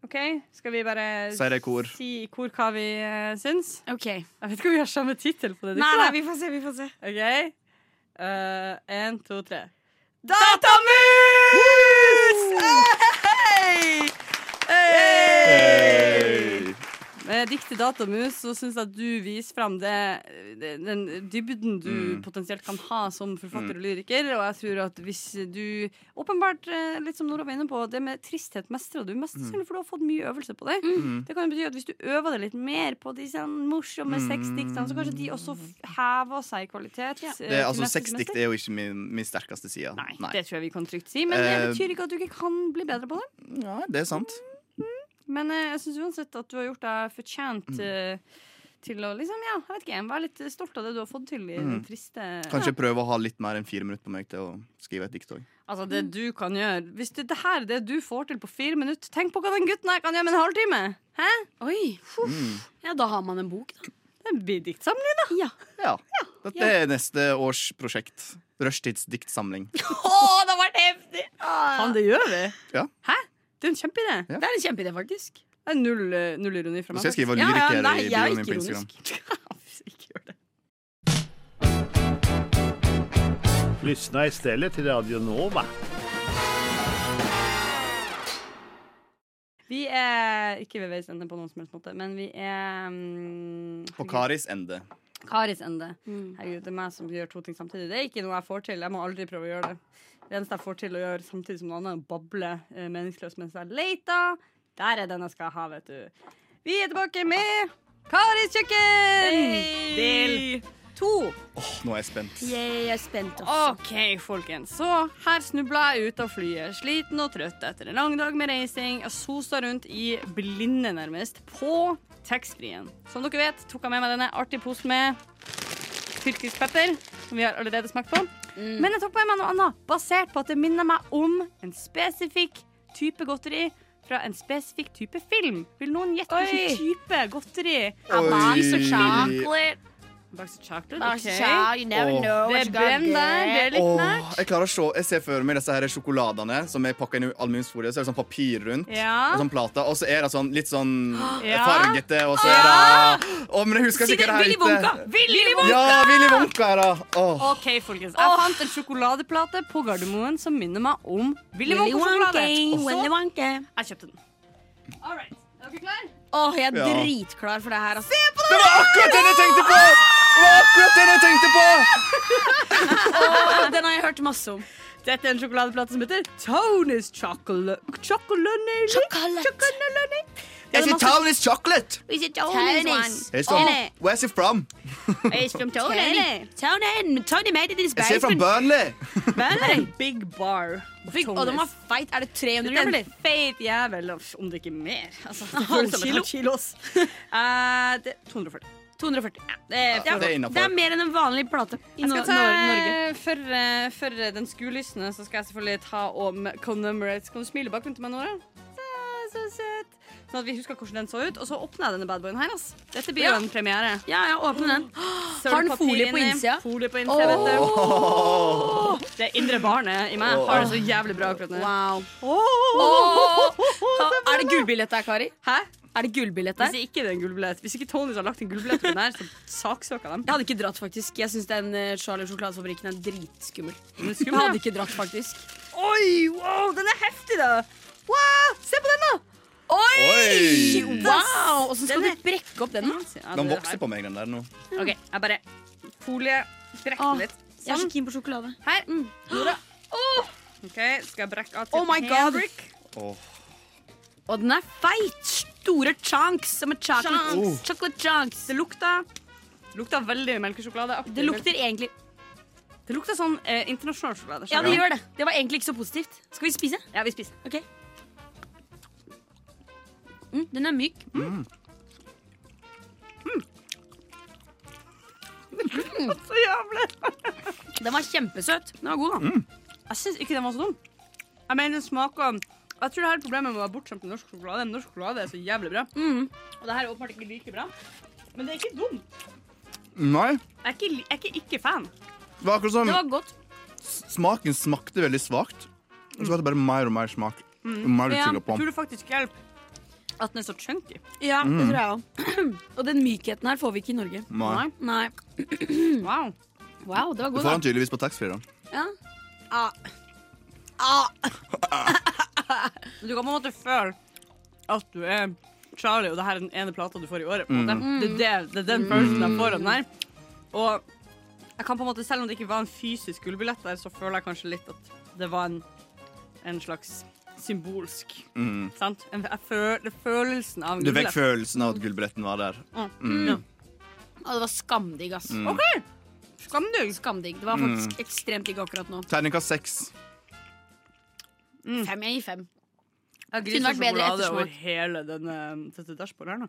OK, skal vi bare
Si det i kor.
si i kor hva vi eh, syns?
Ok
Jeg vet ikke om vi har samme tittel på det.
Nei,
diktet,
nei,
da.
vi får se, vi får se.
OK. Én, to, tre. Datamus! Hei! Hei! Med diktet Datamus så syns jeg at du viser fram det, det- den dybden du
Mm.
potensielt kan ha som
Mm.
forfatter og lyriker. Og jeg tror at hvis du åpenbart, eh, litt som Nora var inne på, det med tristhet mestrer du
Mm.
mest sannsynlig, for du har fått mye øvelse på det.
Mm.
Det kan jo bety at hvis du øver deg litt mer på de sånn morsomme
Mm.
sexdiktene, så kanskje de også f- hever seg i kvalitet. eh, Ja.
Det, altså, Sexdikt er jo ikke min, min sterkeste side. Nei,
Det tror jeg vi kan trygt si, men det
Eh,
betyr ikke at du ikke kan bli bedre på det.
det er sant.
Men eh, jeg syns uansett at du har gjort deg fortjent
Mm.
eh, til å liksom, ja, jeg vet ikke, være litt stolt av det du har fått til i den
Mm.
triste
Kanskje
Ja.
prøve å ha litt mer enn fire minutter på meg til å skrive et dikt òg.
Altså, det du kan gjøre Hvis det, det her er det du får til på fire minutter, tenk på hva den gutten her kan gjøre med en halvtime! Hæ?
Oi. Ja, da har man en bok, da.
Det blir diktsamling,
da. Ja.
Ja. Dette er neste års prosjekt. Rushtidsdiktsamling.
Å, det har vært heftig!
Faen, det gjør vi!
Ja.
Hæ? Det er en kjempeidé.
Det er en kjempeidé, faktisk.
Det er null, eh, null ironi fra
Nå
meg.
skal jeg skrive
faktisk. Ja, ja,
lyriker
nei,
i
jeg er
bioen min
ikke
på
ironisk.
Instagram.
[laughs]
Lyssna istället till Radio Nova.
Vi er ikke ved veis ende på noen som helst måte, men vi er mm,
På Karis ende.
Karis ende. Herregud, det er meg som gjør to ting samtidig. Det er ikke noe jeg får til. Jeg må aldri prøve å gjøre det. Det eneste jeg får til å gjøre samtidig som noe annet, er å bable eh, meningsløst mens jeg leter. Der er den jeg skal ha, vet du. Vi er tilbake med Karis kjøkken! Del to.
Nå er jeg spent.
Jeg er spent
OK, folkens. Så her snubla jeg ut av flyet, sliten og trøtt etter en lang dag med reising. Jeg sosa rundt i blinde, nærmest, på taxfree-en. Som dere vet, tok jeg med meg denne artige posen med tyrkisk pepper, som vi har allerede smakt på.
Mm.
Men jeg tok med meg noe annet, basert på at det minner meg om en spesifikk type godteri. Fra en spesifikk type film. Vil noen gjette
Oi.
hvilken type godteri?
A box of Oi. chocolate.
Box of chocolate,
Box of
ok.
chocolate, you never Åh. know
Det
what
er
you gonna
brem der, det er litt nært.
Åh, jeg klarer å se Jeg ser for meg disse her sjokoladene som er pakka inn i aluminiumsfolie. Så er det sånn papir rundt,
Ja.
og sånn plate. Og så er det sånn litt sånn
Ja. Ah!
fargete, og så er det Åh, men jeg husker
Si
ikke
det,
hva det
Willy Wonka!
heter.
eh, Willy Wonka!
Ja, Willy Wonka er det. Åh.
OK, folkens. Jeg fant en sjokoladeplate på Gardermoen som minner meg om Willy
Willy
Wonka-sjokolade.
Wonka, Willy
Wonka. Jeg kjøpte den. All right. Er dere klare?
Åh, jeg er
Ja.
dritklar for det her. Altså. Se
på det! Det var akkurat den jeg tenkte på! Det var akkurat den jeg tenkte på!
den har jeg hørt masse om. Dette er en sjokoladeplate som heter Tony's Chocolate. Chocolate. Chocolate.
Jeg sier Tony's chocolate.
Is it
Tony's?
Jeg er sånn, Where's it from?
It's from
Tony. Tony, Tony made it in his
Jeg sier fra
basement.
Burnley.
Burnley. Big bar.
Fikk- og den var feit. Er det 300 gram, eller?
Den feit jævel, om det ikke er mer. [laughs] Altså, det
Halv
føles som en
kilo?
halv kilo.
[laughs]
ass. Eh, det, 240.
240. Ja,
det er,
Ja, det er
innenfor.
mer enn en vanlig plate i
Jeg
no
skal ta,
Norge.
for, eh, for den skulysende så skal jeg selvfølgelig ta om Conumerates. Kan du smile bakvendt til meg, Nora? Så, så søt. Sånn at vi husker hvordan den så ut. Og så åpner jeg denne badboyen her. ass. Dette blir jo
Ja.
en premiere.
Ja, ja, åpne
[gasps]
den.
Sølvpapir
Har den folie på
inni.
innsida?
Folie på innsida, vet du.
Åh.
Det indre barnet i meg har det så jævlig bra akkurat nå.
Wow.
Åh.
Ha- Er det gullbillett der, Kari?
Hæ?
Er det gullbillett der?
Hvis ikke det er en gullbillett Hvis ikke Tonys har lagt en gullbillett på den her, så saksøker jeg dem.
Jeg hadde ikke dratt, faktisk. Jeg syns den eh, Charlie Sjokoladefabrikken er dritskummel.
Den er
Jeg
skummel, ja.
hadde ikke dratt, faktisk.
Oi, wow, den er heftig, da! Wow, se på den, da!
Oi!
Oi.
Wow! Åssen skal du brekke opp den? da?
Den vokser på meg, den der nå.
OK, jeg bare folie brekker
Åh,
den litt.
Jeg er
Sånn.
så keen på sjokolade.
Her. Nora. OK, skal jeg brekke av til
Oh my god.
Henrik?
Åh.
Og den er feit! Store chunks som er chocolate
Oh.
Chunks.
chocolate chunks.
Det lukter Lukter veldig melkesjokolade.
Det lukter egentlig
Det lukter sånn eh, internasjonal sjokolade.
Ja, det gjør det. Det var egentlig ikke så positivt. Skal vi spise?
Ja, vi spiser.
Ok. Mm, den er myk.
Så jævlig.
Den var kjempesøt.
Den var god, da. Jeg syns ikke den var så dum. Jeg mener, den smaker Jeg tror det her er problemet med å være bortskjemt med norsk sjokolade. Norsk sjokolade er så jævlig bra. Og det her er åpenbart ikke like bra. Men det er ikke dumt.
Nei.
Jeg er ikke, li- jeg er ikke, ikke fan.
Det var akkurat som
godt.
Smaken smakte veldig svakt. Og så var det bare mer og mer smak. Jo mer du
Men
tygger på.
tror det faktisk hjelper at den er så chunky.
Ja, det
Mm.
tror jeg òg. Og den mykheten her får vi ikke i Norge.
Nei.
Nei.
Wow.
Wow, det var
Du
god,
får den
da.
tydeligvis på taxfree, da.
Ja. Ah. Ah.
Du kan på en måte føle at du er Charlie, og det her er den ene plata du får i året. På en måte.
Mm.
Det, er det, det er den følelsen jeg får av den her. Og jeg kan på en måte, selv om det ikke var en fysisk gullbillett der, så føler jeg kanskje litt at det var en, en slags symbolsk
Mm.
Sant? En, jeg føl, det er følelsen av en
Du fikk
gullbillett.
følelsen av at gullbilletten var der. Mm.
Ja.
Og det var skamdigg, ass.
Mm.
OK! Skamdigg.
Skamdigg. Det var
Mm.
faktisk ekstremt digg akkurat nå.
Terningkast seks.
Fem, jeg gir fem.
Jeg
Kunne
griser
vært bedre
sjokolade over
ettersmak.
hele denne, dette dashbordet her nå.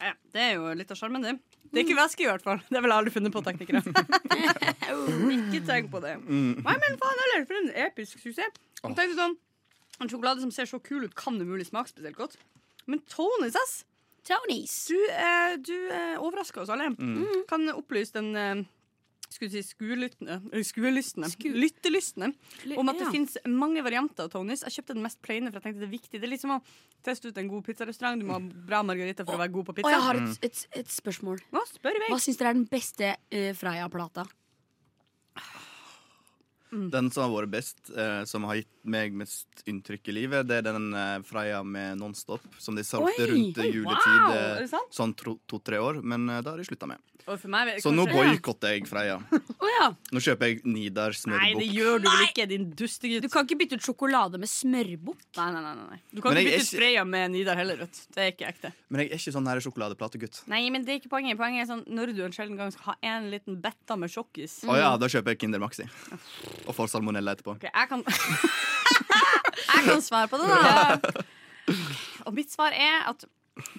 Ja, ja, det er jo litt av sjarmen, det. Det er ikke væske, i hvert fall. Det ville jeg aldri funnet på,
[laughs]
teknikere. [laughs] ikke tenk på det.
Mm.
Nei, men faen heller, for en episk suksess. Jeg tenkte sånn, En sjokolade som ser så kul ut, kan det mulig smake spesielt godt. Men Tonys, ass! Du, eh, du eh, overrasker oss alle.
Mm.
Kan opplyse den eh, skulle si skuelyttende eh, Skuelystne. Lyttelystne.
Ly-
Om at det
ja.
finnes mange varianter av Tonys. Jeg kjøpte den mest plaine, for jeg tenkte det er viktig. Det er litt som å teste ut en god pizzarestaurant. Du må ha bra margarita for å være god på
Og
pizza.
jeg har et, et, et spørsmål.
Nå spør vi.
Hva syns dere er den beste eh, Freia-plata?
Den som har vært best, eh, som har gitt meg mest inntrykk i livet, det er den eh, Freia med Nonstop, som de solgte
Oi!
rundt
Oi,
eh,
wow!
juletid. eh,
Er det sant?
Sånn to- to-tre år, men eh, det har de slutta med.
Og for meg,
Så nå
Eh, kanskje-
boikotter jeg Freia.
Å ja.
Nå kjøper jeg Nidar
Nei,
smørbukk.
det gjør du vel ikke, din dustegutt.
Du kan ikke bytte ut sjokolade med smørbukk.
Nei, nei, nei, nei. Du kan
Men
ikke
jeg
bytte
er
ut
ikke-
Freya med Nidar heller, vet du. Det er ikke ekte.
Men jeg er ikke sånn her sjokoladeplategutt.
Nei, men det er ikke poenget. Poenget er sånn når du en sjelden gang skal ha en liten betta med sjokkis.
Å ja, da kjøper jeg Kinder Maxi. Og får salmonella etterpå.
Ok, jeg kan [laughs] Jeg kan svare på det, da. Og mitt svar er at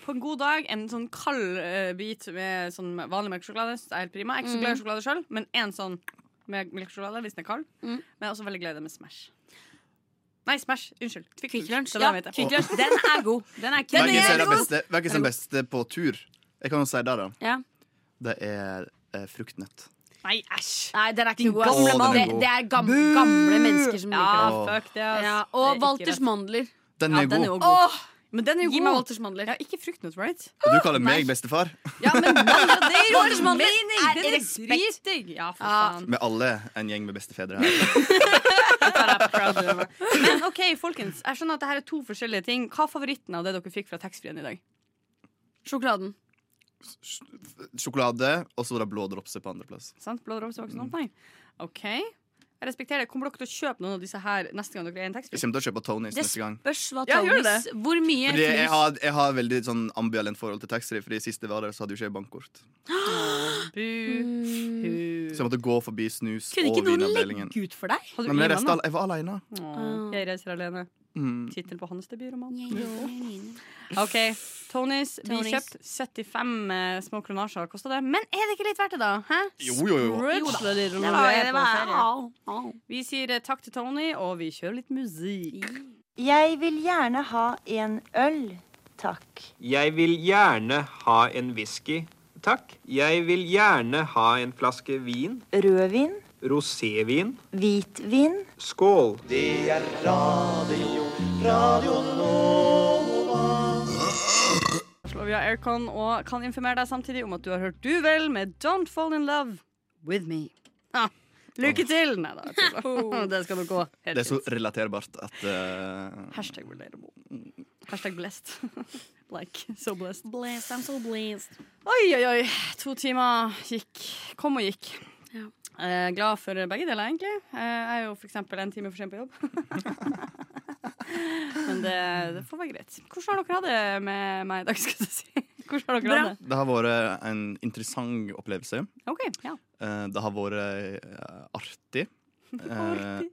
på en god dag, en sånn kald eh, bit med sånn vanlig melkesjokolade synes jeg er helt prima. Jeg er ikke så glad i sjokolade sjøl, men en sånn med melkesjokolade hvis den er kald.
Mm.
Men jeg er også veldig glad i det med Smash. Nei, Smash. Unnskyld. Kvikk Lunsj.
Ja, Kvikk Lunsj. Den er god. Den er
Hvem er
knallgod.
den beste, hvem er den beste på tur? Jeg kan jo si det, da.
Ja.
Det er eh, fruktnøtt.
Nei, æsj.
Nei, den er ikke
Din
god.
gamle
ass.
mann.
Det, det er gam, gamle mennesker som
Ja,
liker det.
fuck det, ass.
Ja,
Det er
og
ikke
Walters
rett.
mandler.
Den
Ja,
er
den er jo
god.
god. Men den er jo
Gi
god.
meg Walters mandler.
Ja, ikke fruktnøtt, right?
Og du kaller meg bestefar?
Ja, men [laughs] mandler, det gir jo
Walters mandler
mening.
er
Den er
respekt.
dritdigg. Ja, for faen.
Med alle en gjeng med bestefedre her.
[laughs] Men OK, folkens. Jeg skjønner at det her er to forskjellige ting. Hva er favoritten av det dere fikk fra taxfree-en i dag?
Sjokoladen.
Sjokolade, og så var det blå dropser på andreplass.
Sant? Blå rose var ikke sånn? Nei. OK. Jeg respekterer det. Kommer dere til å kjøpe noen av disse her neste gang dere er i en
Jeg
taxfree?
kommer til å kjøpe Tonys
Det
neste gang.
spørs hva
Ja, gjør
Tonys Hvor mye
Fordi jeg
Tonys-
har, jeg har veldig sånn ambivalent forhold til taxfree, fordi sist jeg var der, så hadde jo ikke jeg bankkort.
[gasps] Bu.
Så jeg måtte gå forbi snus
Kunne
og
ikke noen legge
vinavdelingen.
ut for deg?
Har
Nei,
du
Men jeg,
Ivan,
reiste,
da?
al- jeg var aleine.
Åh, Jeg reiser alene.
Mm.
Tittel på hans debutroman.
Nei,
OK. Tonys. Vi
Tonys.
kjøpte 75 eh, små kronasjer. Kosta det? Men er det ikke litt verdt det, da? Hæ?
Jo, jo, jo.
Sprudge, da. Det
det
var-
var-
det
det
var-
var- au, au.
Vi sier eh, takk til Tony, og vi kjører litt musikk.
Jeg vil gjerne ha en øl, takk.
Jeg vil gjerne ha en whisky, takk. Jeg vil gjerne ha en flaske vin.
Rødvin,
Rosévin.
hvitvin.
Skål.
Det er radio, radio nå.
Slå via aircon og kan informere deg samtidig om at du har hørt Duvel med Don't Fall In Love With Me. Ah, lykke til! Nei da, jeg tuller. [laughs] det skal nok gå.
Det er så relaterbart at eh,
Hashtag relatable. Mm. Hashtag blessed. [laughs] like, so blessed.
Blessed, I'm so blessed.
Oi, oi, oi. To timer gikk. Kom og gikk.
Ja.
Eh, glad for begge deler, egentlig. Eh, jeg er jo for eksempel en time for sent på jobb. [laughs] Men det, det får være greit. Hvordan har dere hatt det med meg i dag, skal jeg si? Hvordan har dere hatt det?
Det har vært en interessant opplevelse.
OK. Ja.
[laughs]
Eh, Det har vært eh, artig. Eh,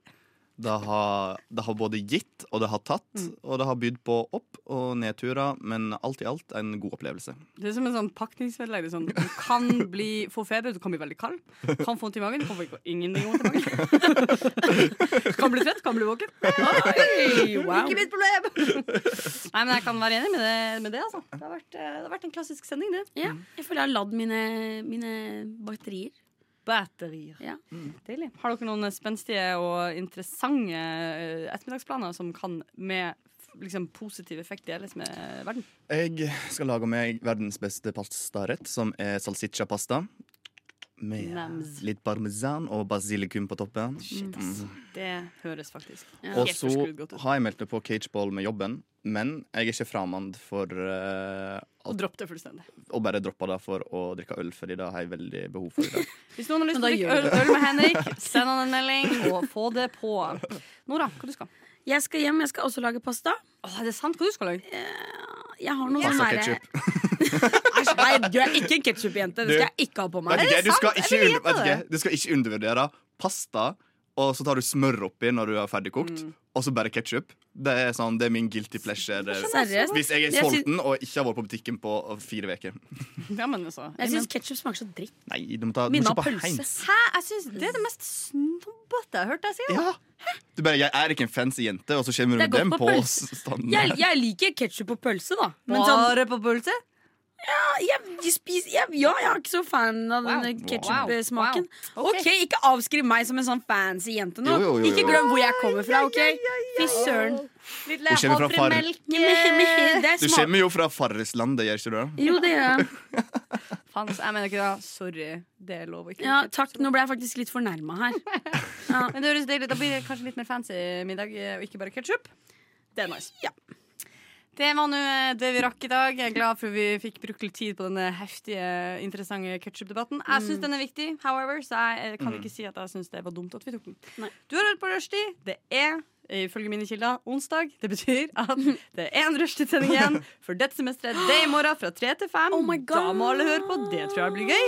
Det har, det har både gitt og det har tatt,
Mm.
og det har bydd på opp- og nedturer, men alt i alt en god opplevelse.
Det er som en sånn pakningsvedlegg. Sånn. Du kan bli, få feber, du kan bli veldig kald. Kan få vondt i magen, du kan få ingenting vondt i magen. [laughs] Kan bli trett, kan bli våken. Oi,
wow.
Ikke mitt problem! Nei, men jeg kan være enig med det, med det altså. Det har, vært, eh, det har vært en klassisk sending, det.
Ja, jeg føler jeg har ladd mine, mine batterier.
Batterier.
Ja.
Deilig. Har dere noen spenstige og interessante eh, ettermiddagsplaner som kan med f- liksom, positiv effekt deles med verden?
Jeg skal lage meg verdens beste pastarett, som er salsiccia-pasta. Med
Nams.
litt parmesan og basilikum på toppen.
Shit, ass.
Mm.
Det høres faktisk
Og
helt
så
forskrudd godt ut.
har jeg meldt meg på cageball med jobben, men jeg er ikke framand for eh,
Og dropp det fullstendig.
å bare droppe det for å drikke øl, fordi det har jeg veldig behov for i
[laughs]
dag.
Hvis noen har lyst til å
Men da
drikke
gjør
øl,
vi
øl med Henrik,
[laughs]
send han en melding og få det på. Nora, hva du skal
Jeg skal hjem, jeg skal også lage pasta.
er det sant? Hva du skal lage?
Jeg har noe
Pasta
sånn derre-
ketchup.
Æsj, nei, du er ikke en ketsjupjente. Det
Du-
skal jeg ikke ha på meg.
Vet ikke, du, skal ikke under, vet ikke, du skal ikke undervurdere pasta, og så tar du smør oppi når du er ferdigkokt, og så bare ketsjup. Det er sånn, det er min guilty pleasure.
Seriøst?
Hvis jeg er
Jeg syns-
sulten og ikke har vært på butikken på fire uker.
Ja, men altså.
Jeg syns ketsjup smaker så dritt.
Nei, du må ta du må
Minner om
kjøpe
pølse.
Heinz.
Hæ? Jeg synes Det er det mest snobbete jeg har hørt deg si.
Ja. Du bare, jeg er ikke en fancy jente, og så kommer du
Det er
med dem
godt på
på
pølse.
standen.
Jeg, jeg liker ketsjup på pølse, da. sånn-
Bare på pølse?
Ja, jeg, jeg spiser, jeg, ja, jeg er ikke så fan av den ketsjup-smaken. OK, ikke avskriv meg som en sånn fancy jente nå.
Jo, jo, jo, jo.
Ikke glem hvor jeg kommer fra, OK? Fy søren.
Litt
Hun kommer fra Far-
[laughs]
havremelk.
Det
Du
smaker
kommer jo fra Farrislandet, gjør ikke du det?
Jo, det gjør jeg.
Faen, altså, jeg mener ikke det. Sorry. Det er lov å ikke
Ja, takk. Nå ble jeg faktisk litt fornærma her.
Men det høres deilig Da blir det kanskje litt mer fancy middag, eh, og ikke bare ketsjup. Det er nice. Det var nå eh, det vi rakk i dag. Jeg er glad for at vi fikk brukt litt tid på denne heftige, interessante ketsjup-debatten. Jeg syns
Mm.
den er viktig, however, så jeg eh, kan
Mm.
ikke si at jeg syns det var dumt at vi tok den. Du har hørt på Rushdie. Det er, ifølge mine kilder, onsdag. Det betyr at det er én rushtidssending igjen
[laughs]
for dette semesteret. Det er i morgen fra tre til fem.
Oh
da må alle høre på. Det tror jeg blir gøy.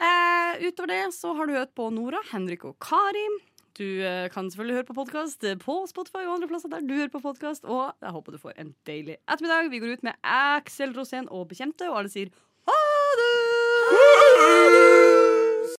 Eh, utover det så har du hørt på Nora, Henrik og Kari. Du eh, kan selvfølgelig høre på podkast på Spotify og andre plasser der du hører på podkast. Og jeg håper du får en deilig ettermiddag. Vi går ut med Axel Rosén og Bekjente, og alle sier ha det!